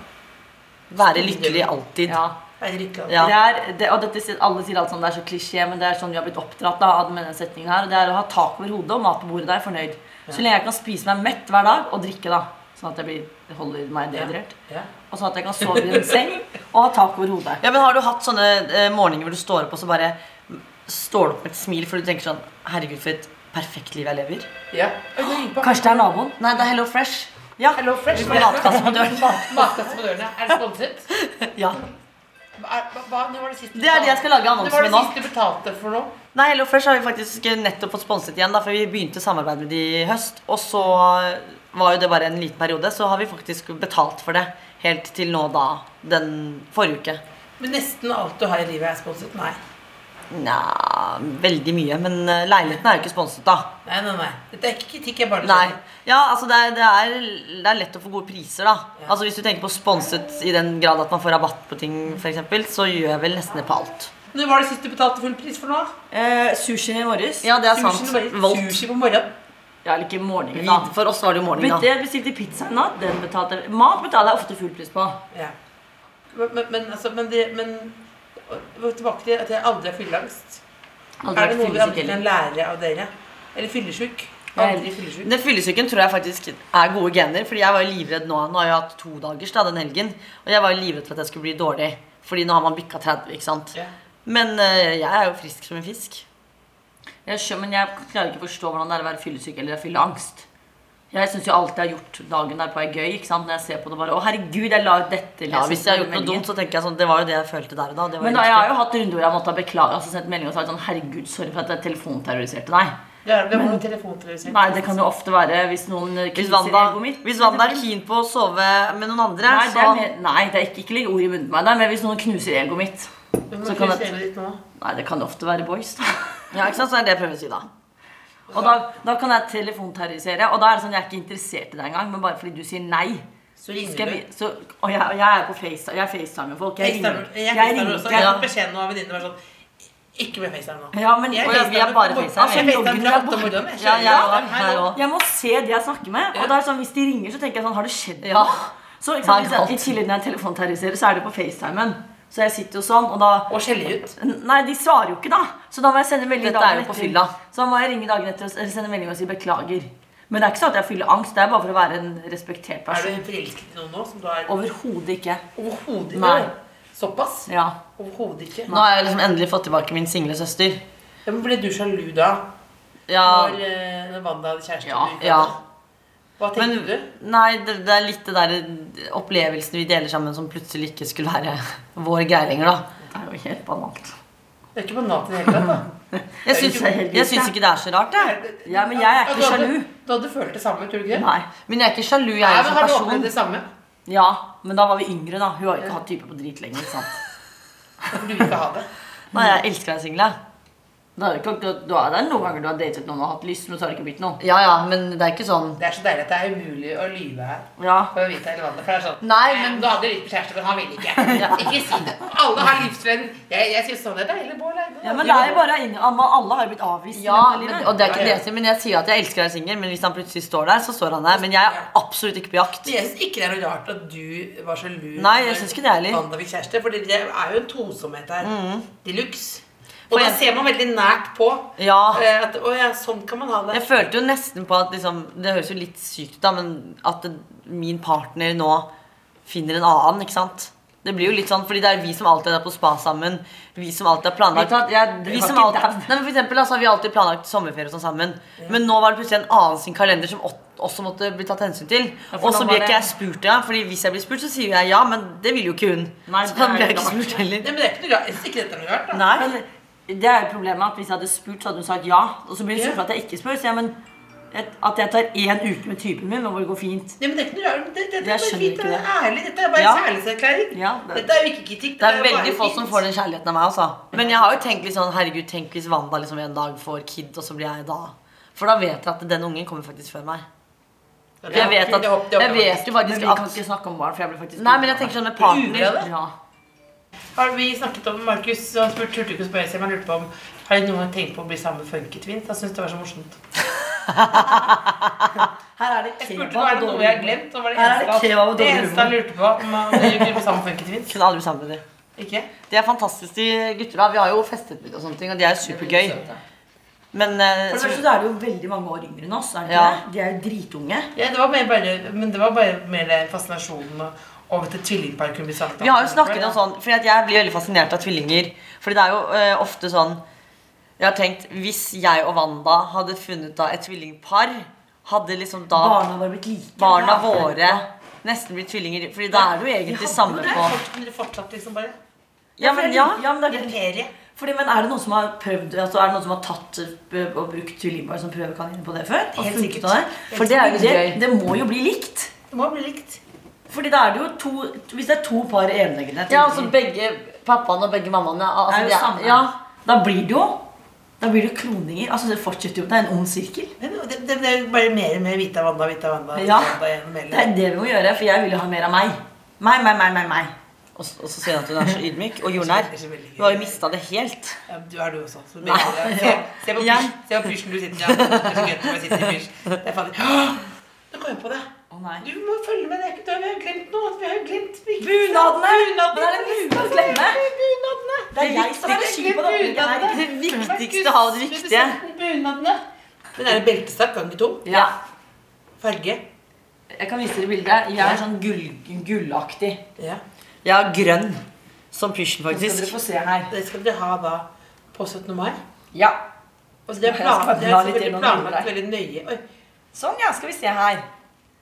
Være lykkelig alltid.
Ja.
Er det lykke?
Ja.
Det er, det, og dette, sier- alle sier alt sånn, det er så klisjé, men det er sånn vi har blitt oppdratt da, av denne setningen her. Og det er å ha tak over hodet og mat på bordet. Da er jeg fornøyd. Så lenge jeg kan spise meg mett hver dag og drikke, da. Sånn at jeg blir, holder meg dehydrert.
Ja.
Og sånn at jeg kan sove i en seng og ha tak over hodet.
Ja, men Har du hatt sånne eh, morgener hvor du står opp og så bare står du opp med et smil for du tenker sånn Herregud, for et perfekt liv jeg lever.
Ja. Oi, nå gikk på.
Kanskje det er naboen?
Nei, det er Hello Fresh.
Ja.
Hello Fresh.
får matkasse på døren.
Mat- Matkasse på døren, ja. Er det sponset?
Ja.
Er- hva- hva- Når var det sist du
Det er det jeg skal lage
betalte-
annonser med
Når
nå.
var det sist du betalte for noe?
Nei, Hello Fresh har vi faktisk nettopp fått sponset igjen, da, for vi begynte samarbeidet med de i høst. Og så var jo det bare en liten periode, så har vi faktisk betalt for det helt til nå da, den forrige uke.
Men nesten alt du har i livet er sponset? Nei.
Nja, veldig mye, men eh, leiligheten er jo ikke sponset, da.
Nei, nei, nei. Dette er ikke kritikk, jeg bare
Nei. Ja, altså det er, det, er, det er lett å få gode priser, da. Altså Hvis du tenker på sponset i den grad at man får rabatt på ting, f.eks., så gjør jeg vel nesten det på alt.
Når var det sist du betalte full pris for noe?
Eh, sushien i morges.
Ja, det er sant.
Sushi, bare-
Volt.
sushi på morgenen.
Ja, eller ikke morgenen,
Vid,
da.
for oss var det jo morgenen,
Bytte,
da.
jeg bestilte pizza i natt. Den betalte jeg. Mat betaler jeg ofte full pris på.
Ja. Men, men, men, altså, men, det, men og- Tilbake til at jeg aldri er fylleangst.
Aldri
Er det noe
vært
vi har
fyllesyk
blitt
heller.
en lærer av dere? Eller fyllesjuk?
Nei.
Aldri fyllesyk.
Den fyllesyken tror jeg faktisk er gode gener. Fordi jeg var jo livredd nå. Nå har jeg hatt to dagers da, den helgen. Og jeg var jo livredd for at jeg skulle bli dårlig. Fordi nå har man bikka 30, ikke sant.
Ja.
Men eh, jeg er jo frisk som en fisk.
Jeg skjønner, men jeg klarer ikke å forstå hvordan det er å være fyllesyk eller fylleangst. Jeg syns jo alt jeg har gjort dagen derpå, er gøy. ikke sant? Når jeg ser på det bare, å herregud, jeg la ut dette.
Ja,
liksom,
hvis jeg har
på
gjort noe
meldingen.
dumt, så tenker jeg sånn Det var jo det jeg følte der og da. Det var
Men da, jeg har
riktig.
jo hatt runder hvor jeg måtte ha beklaget altså sendt melding og sagt sånn Herregud, sorry for at jeg telefonterroriserte deg.
Det er det med telefonterrorisering.
Nei, det kan jo ofte være hvis noen
Hvis
kriser
Wanda,
egoet mitt.
hvis Wanda er keen på å sove med noen andre, sånn-
Nei, det
så
er, mer, nei, det er ikke, ikke legg ord i munnen på meg, det er mer hvis noen knuser egoet mitt.
Du må
så kan
krysse
jeg-
øynene ditt nå.
Nei, det kan ofte være boys, da.
Ja, ikke sant? Så er det jeg prøver å si, da.
Og da, da kan jeg telefonterrorisere, og da er det sånn jeg er ikke interessert i deg engang, men bare fordi du sier nei.
Så ringer
Skal
du.
vi, så, og jeg, og jeg er på FaceTime, jeg facetimer folk. Jeg
Jeg
ringer.
jeg
Jeg
FaceTimer
ringer.
også. Jeg
Ja.
har fått beskjed nå av venninnen var sånn Ikke med FaceTime nå.
Ja, men
Jeg
og jeg, vi er bare
på-
FaceTime.
Jeg
Jeg
FaceTime
logger
fra
meg
åtte om morgenen.
Ja,
skjønner.
jeg
Ja,
òg.
hei
Jeg
nå.
òg.
Jeg må se de jeg snakker med. Og det er sånn, Hvis de ringer, så tenker jeg sånn Har det skjedd noe?
Ja.
Så ikke sant,
Nei,
hvis jeg,
alt.
I tillegg når jeg telefonterroriserer, så er det på FaceTimen. Så jeg sitter jo sånn, og da
Og skjelle ut.
Nei, de svarer jo ikke, da. Så da må jeg sende melding
Dette er jo på fylla.
Så da må jeg ringe dagen etter og s- eller sende melding og si beklager. Men det er ikke sånn at jeg fyller angst. Det er bare for å være en respektert
Er
person.
du forelsket i noen nå som du er
Overhodet ikke.
overhodet
Nei.
ikke? Såpass?
Ja.
Overhodet ikke.
Nå har jeg liksom endelig fått tilbake min single søster.
Ja, men ble du sjalu da?
Ja,
Når, eh, når Wanda hadde kjæreste?
Ja,
du ikke
ja.
hadde? Hva
men
tenkte du?
Nei, det, det er litt det der opplevelsen vi deler sammen, som plutselig ikke skulle være vår greie lenger, da.
Det er jo helt banalt.
Det er ikke banalt i det hele tatt, da.
Jeg syns, jeg syns ikke det er så rart, jeg.
Ja, men jeg er
Ja,
ikke
du hadde-
sjalu.
Du hadde følt det samme, tror du ikke det?
Nei.
Men jeg er ikke sjalu, jeg
Nei,
er
men
jo
har du
som
opplevd
person.
det samme?
Ja, men da var vi yngre, da. Hun har jo ikke hatt type på drit lenger. ikke sant?
For du vil ikke ha det.
Nei, jeg elsker deg single. jeg.
Det er jo ikke akkurat, du er, det er noen ganger du har datet noen og hatt lyst, men så har det ikke blitt noe.
Ja ja, men det er ikke sånn
Det er så deilig at det er umulig å lyve her.
Ja.
For å vite eller hva det er. For det er sånn
Nei,
eh,
men-
Du hadde litt kjæreste, men han ville ikke. Ikke si det. Alle har livsvenn. Jeg, jeg syns sånn er deilig, Bård Eide.
Ja, men det er jo bare inn- alle alle har jo blitt avvist. i
Ja,
løpet av
men,
livet.
og det er ikke det jeg sier, men jeg sier at jeg elsker deg singel, men hvis han plutselig står der, så står han der. Men jeg er absolutt ikke på jakt.
Men Jeg syns ikke det er noe rart at du var sjalu
Nei, jeg synes ikke det heller. Mm.
Wanda fikk kjæreste. For det er jo en tosomhet her. De luxe. Og
For
da
jeg-
ser man veldig nært på
Ja.
eh, at å ja, sånn kan man ha det.
Jeg følte jo nesten på at liksom, Det høres jo litt sykt ut, da, men at det, min partner nå finner en annen, ikke sant? Det blir jo litt sånn, fordi det er vi som alltid er på spa sammen. Vi som alltid har
Vet
planlagt
du at jeg-
vi
har
som
ikke
alltid,
dab.
nei, men for eksempel, altså, vi har alltid planlagt sommerferie og sånn sammen. Men nå var det plutselig en annen sin kalender som åt- også måtte bli tatt hensyn til.
for
Og så
nå var
blir ikke
det-
jeg spurt, ja. Fordi hvis jeg blir spurt, så sier jeg ja, men det vil jo ikke hun.
Nei,
så
det
da
er
blir jeg
ikke
ikke
rart.
spurt heller.
Nei, men det er ikke noe rart. Jeg synes ikke dette er noe rart. da.
Nei.
Men det er jo problemet at hvis jeg hadde spurt, så hadde hun sagt ja. Og så blir hun sur for at jeg ikke spør. Så jeg, men et- at jeg tar én uke med typen min, og hvor det går fint.
Nei, men det er ikke noe rart. Det, det, det, er
Jeg
bare
skjønner
fint.
ikke
Det er ærlig. Dette er bare
Ja.
kjærlighetserklæring.
Ja, det-
Dette er jo ikke kritikk.
Det er
jo
veldig
bare
få
fint.
som får den kjærligheten av meg. altså Men jeg har jo tenkt litt sånn Herregud, tenk hvis Wanda liksom en dag får kid, og så blir jeg da For da vet jeg at den ungen kommer faktisk før meg. For jeg vet, at,
Det håper- det håper
jeg vet jo
Men vi
faktisk
kan
at
ikke snakke om barn, for jeg ble faktisk
Nei, men jeg tenker sånn med
Lurer jeg
partner
det?
Ja.
Har vi snakket om Markus og han spurte turte ikke å spørre seg, men han lurte på om Har dere noen gang tenkt på å bli sammen med Funketwins? Han syntes det var så morsomt.
Her er det
Jeg spurte hva er det noe jeg har glemt, og var det
Her er det
eneste,
kebab og
han- det
dårlig
eneste han lurte på om han ville bli sammen med Funketwins.
kunne aldri bli sammen med dem.
Ikke?
De er fantastiske de gutter. da Vi har jo festet litt og sånne ting, og de er supergøy. Men eh,
For det
så,
første så er det jo veldig mange år yngre enn oss. er det ikke
Ja.
det? De er jo dritunge.
Ja, det var mer bare, men det var bare mer den fascinasjonen over at et tvillingpar kunne bli sammen.
Vi har jo snakket om sånn Fordi at jeg blir veldig fascinert av tvillinger Fordi det er jo eh, ofte sånn Jeg har tenkt, hvis jeg og Wanda Hadde funnet da et tvillingpar Hadde liksom da
Barna våre blitt like.
barna
Ja.
våre Nesten blir tvillinger Fordi da er du egentlig samme på
Kunne dere fortsatt liksom bare
Ja, men ja
ja, men det er
Imperie.
Fordi, men er det noen som har prøvd altså, Er det noen som har tatt ø, og brukt tvillingpar som prøvekaniner på det før? Og
Helt
funnet
sikkert.
ut av det? For det, er jo det,
sikkert.
det må jo bli likt.
Det må bli likt.
Fordi da er det jo to Hvis det er to par eneggende
Ja, altså begge pappaen og begge mammaene altså,
er
de
jo samme.
Ja,
Da blir det jo Da blir det jo kroninger. Altså Det fortsetter jo. Det er en ond sirkel.
Det, det, det er bare mer og mer Vita Wanda, Vita Wanda.
Ja.
Vita gjennom hele-
Det er det vi må gjøre, for jeg vil jo ha mer av meg. Meg, meg, meg, meg. meg.
og, så- og så sier han at hun er så ydmyk Og jordnær
Det er så veldig gøy.
Du har jo mistet det helt
Ja, du er du også. Så mener jeg- se, se på pysj- se på pysjen du sitter i. ja. Det er så gøy at du bare sitter i pysj. Det er fader. Åh, Nå kom jeg på det.
nei.
Du må følge med. Det er ikke død. Vi har jo glemt noe. Vi har jo glemt
Bunadene! Men er det
Vi
mulig å glemme?
glemte Bunadene.
Det er jeg som er skyld på det.
Glemt bunadene.
Det viktigste av det viktige
Markus, Bunadene. Den der beltestakk ganger to.
Ja.
Farge.
Jeg kan vise dere bildet. Jeg er sånn gull, gullaktig.
Ja.
Jeg har grønn Som pysjen
Skal dere
faktisk
få se her.
Det skal dere ha da på 17. mai.
Ja.
Og det er plan- det er
bla litt
selvfølgelig
gjennom
planlagt
bildet
veldig nøye. Oi,
Sånn, ja. Skal vi se her.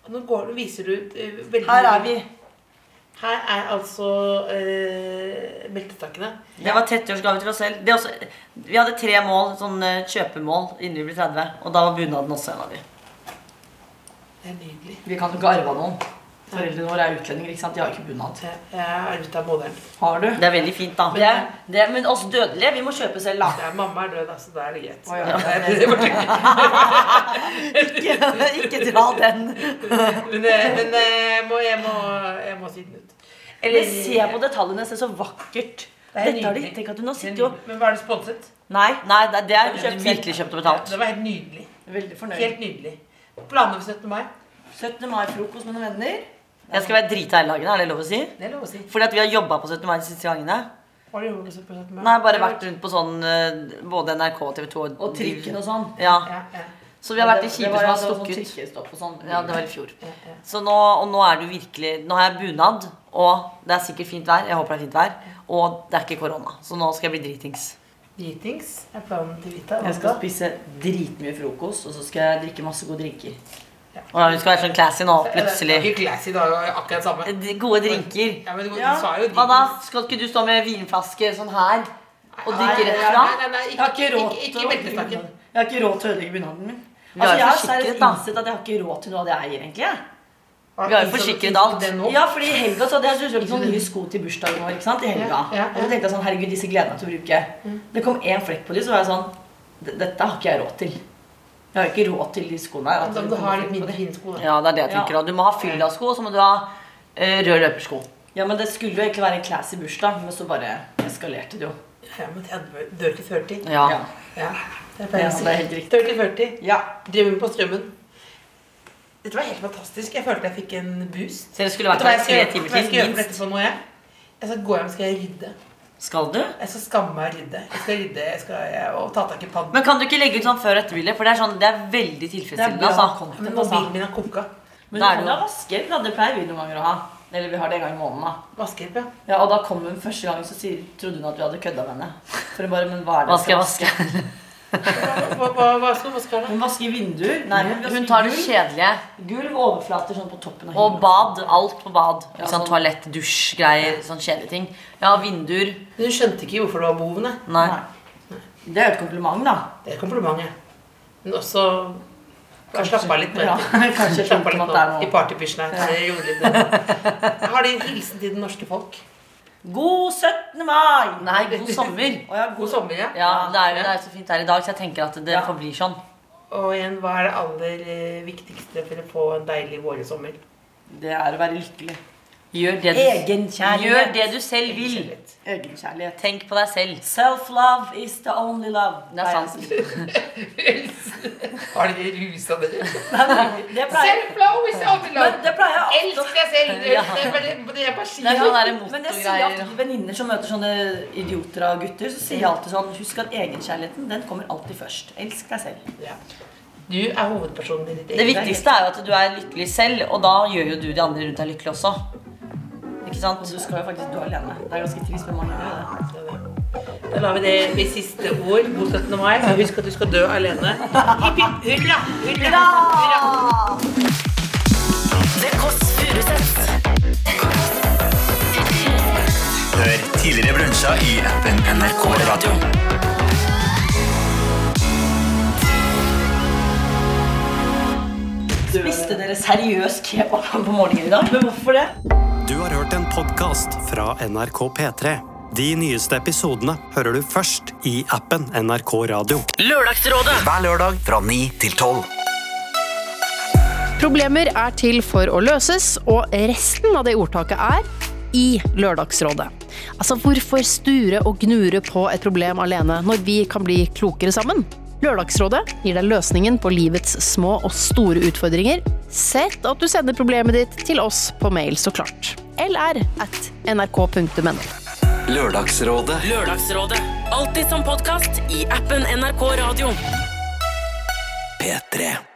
og nå går, viser du ut eh, veldig
Her er vi.
Her er altså eh, beltestakene.
Det var 30-årsgave til oss selv. Det er også, vi hadde tre mål, sånn eh, kjøpemål innen vi ble 30. Og da var bunaden også en av de.
Det er nydelig.
Vi kan jo ikke arve av noen. Foreldrene våre er utlendinger. ikke sant? De har ikke bunad.
Jeg er arvet av moderen.
Har du?
Det er veldig fint, da. Det, det, men oss dødelige, vi må kjøpe selv, da.
Det er mamma er død, altså. Da er det greit.
Å, ja.
ikke dra den.
Men, eh, men eh, må, jeg, må, jeg må si den ut.
Eller se på detaljene. Se så vakkert.
er
Dette har de,
nydelig.
tenk at hun har sittet og
Men hva er det sponset?
Nei, nei det, det er kjøpt, virkelig kjøpt og betalt.
Det var helt nydelig.
Veldig fornøyd.
Helt nydelig. Planer for 17. mai?
17. mai-frokost med noen venner.
Jeg skal være drita hele dagen, er det lov å si?
Det er lov å si.
Fordi at vi har jobba på 17. mai de siste gangene.
Hva har du gjort på 17. mai?
Nei, bare vært rundt på sånn eh, både NRK og TV 2
Og trikken og sånn.
Ja.
Ja, ja.
Så vi har vært de
Det
kjipe som har
var- det var sånn
stukket.
trikkestopp og sånn.
Ja, det var i fjor.
Ja, ja.
Så nå, og nå er du virkelig Nå har jeg bunad, og det er sikkert fint vær. Jeg håper det er fint vær. Og det er ikke korona. Så nå skal jeg bli dritings.
Dritings er planen til Vita.
Jeg skal spise dritmye frokost, og så skal jeg drikke masse gode drinker.
Og hun skal være sånn classy nå, plutselig.
Ikke classy, da. det er Akkurat samme.
De Gode drinker.
Ja, men du,
Ja.
du sa jo
Hva da?
dritings.
Skal ikke du stå med vinflaske sånn her og drikke rett
Nei,
fra?
Nei, nei, nei,
Jeg har
ikke,
ikke
ikke,
råd til
ikke
å-
i beltestakken.
Jeg har ikke råd til å ødelegge bunaden min.
er
Altså, jeg har
forsikret,
seriøst
da.
innsett at jeg har ikke råd til noe av det jeg eier, egentlig. jeg.
Vi har jo forsikret alt.
Det nå?
Ja, fordi i helga så hadde jeg kjøpt noen nye sko til bursdagen vår. ikke sant, i helga.
Ja, ja, ja.
Og så tenkte jeg sånn, herregud, disse gleder jeg meg til å bruke. Det kom én flekk på de, så var jeg sånn "D- Dette har ikke jeg råd til. Jeg har ikke råd til de skoene her. at
Da
det
må du
kommer
ha
flekk
litt
på
mindre
de."
fine sko. da.
Ja, det er det jeg tenker da. Du må ha fyllasko, og så må du ha eh, rød løpersko.
Ja, men det skulle jo egentlig være en classy bursdag, men så bare eskalerte det jo.
Ja, men 30, dirty 40.
Ja.
Ja,
Ja, det
ja
pleier jeg
så det
å
er
si.
helt riktig.
Dirty 40.
Ja.
Drømmen på strømmen. Dette var helt fantastisk. Jeg følte jeg fikk en boost.
Så det skulle vært
Vet du hva jeg
der
skal
tre
gjøre-
timer
hva jeg skal
til
gjøre for
minst.
dette for noe, jeg? Jeg skal gå hjem og skal jeg rydde.
Skal du?
Jeg skal skamme meg og rydde. Jeg skal rydde jeg skal, jeg, og ta tak i padden.
Men kan du ikke legge ut sånn før og etter-bilde? For det er, sånn, det er veldig tilfredsstillende. altså.
Men mobilen min har koka.
Men
Da er
du
det
kan
jo-
ha vaskehjelp, da. Det pleier vi noen ganger å ha. Eller vi har det en gang i måneden, da.
Vaskehjelp, ja.
Ja, Og da kom hun første gang, så sier, trodde hun at vi hadde kødda med henne. For hun bare, men hva er det
Hva skal jeg vaske?
Hva- Hva, hva, hva skal du vaske her, da?
Hun vasker vinduer. Nei, hun, vasker
Hun tar det
gulv.
kjedelige.
Gulv, overflater sånn på toppen av
Og
himmelen.
bad. Alt på bad.
Ja,
Sånn
sånn.
toalett, dusj, greier. Sånn kjedelige ting. Ja, vinduer.
Men Hun skjønte ikke hvorfor det var behovene.
Nei.
Det er jo et kompliment, da.
Det er et kompliment, jeg. Men også bare slappe av litt. på
Ja,
etter.
kanskje
Slapp av
skjønte
litt
hun at
nå,
det er
i
noe.
partypysjen her. Det gjorde litt det. Jeg har din hilsen til det norske folk.
God 17. mai!
Nei, god sommer.
Å ja,
God
god
sommer, ja.
Ja, det er, jo- det er så fint her i dag, så jeg tenker at det
Ja.
forblir sånn.
Og igjen, hva er det aller eh, viktigste for å få en deilig våresommer?
Det er å være lykkelig.
Gjør det du, gjør
Egenkjærlighet.
det du selv vil.
Egenkjærlighet.
Tenk på deg selv.
Self-love is the only love. altså,
Det er sant.
Har dere rusa dere?
Det pleier,
Self-flow is only
men det pleier jeg alltid
Elsk deg selv! Det er bare- det er bare å si
Det er sånn der
Men jeg sier alltid
motorgreier.
til venninner som møter sånne idioter av gutter, så sier jeg alltid sånn Husk at egenkjærligheten, den kommer alltid først. Elsk deg selv.
Ja. Du er hovedpersonen i ditt
Det
eget
viktigste er jo at du er lykkelig selv, og da gjør jo du de andre rundt deg lykkelig også. Ikke
Og
sant?
du skal jo faktisk dø alene. Det er ganske trist, men man gjør jo det.
Da lar vi det bli siste ord god 17. mai. Og Husk at du skal dø alene. Hipp, hipp, hurra, hurra, hurra.
Det Kåss Furuseths.
Hør tidligere brunsja i appen NRK Radio.
Spiste dere seriøst kebab på morgenen i dag? Men hvorfor det?
Du har hørt en podkast fra NRK P3. De nyeste episodene hører du først i appen NRK Radio.
Lørdagsrådet.
Hver lørdag fra 9 til 12.
Problemer er til for å løses, og resten av det ordtaket er i Lørdagsrådet. Altså, hvorfor sture og gnure på et problem alene når vi kan bli klokere sammen? Lørdagsrådet gir deg løsningen på livets små og store utfordringer. Sett at du sender problemet ditt til oss på mail, så klart. LR at nrk.no.
Lørdagsrådet
Lørdagsrådet. Alltid som podkast i appen NRK Radio.
P3.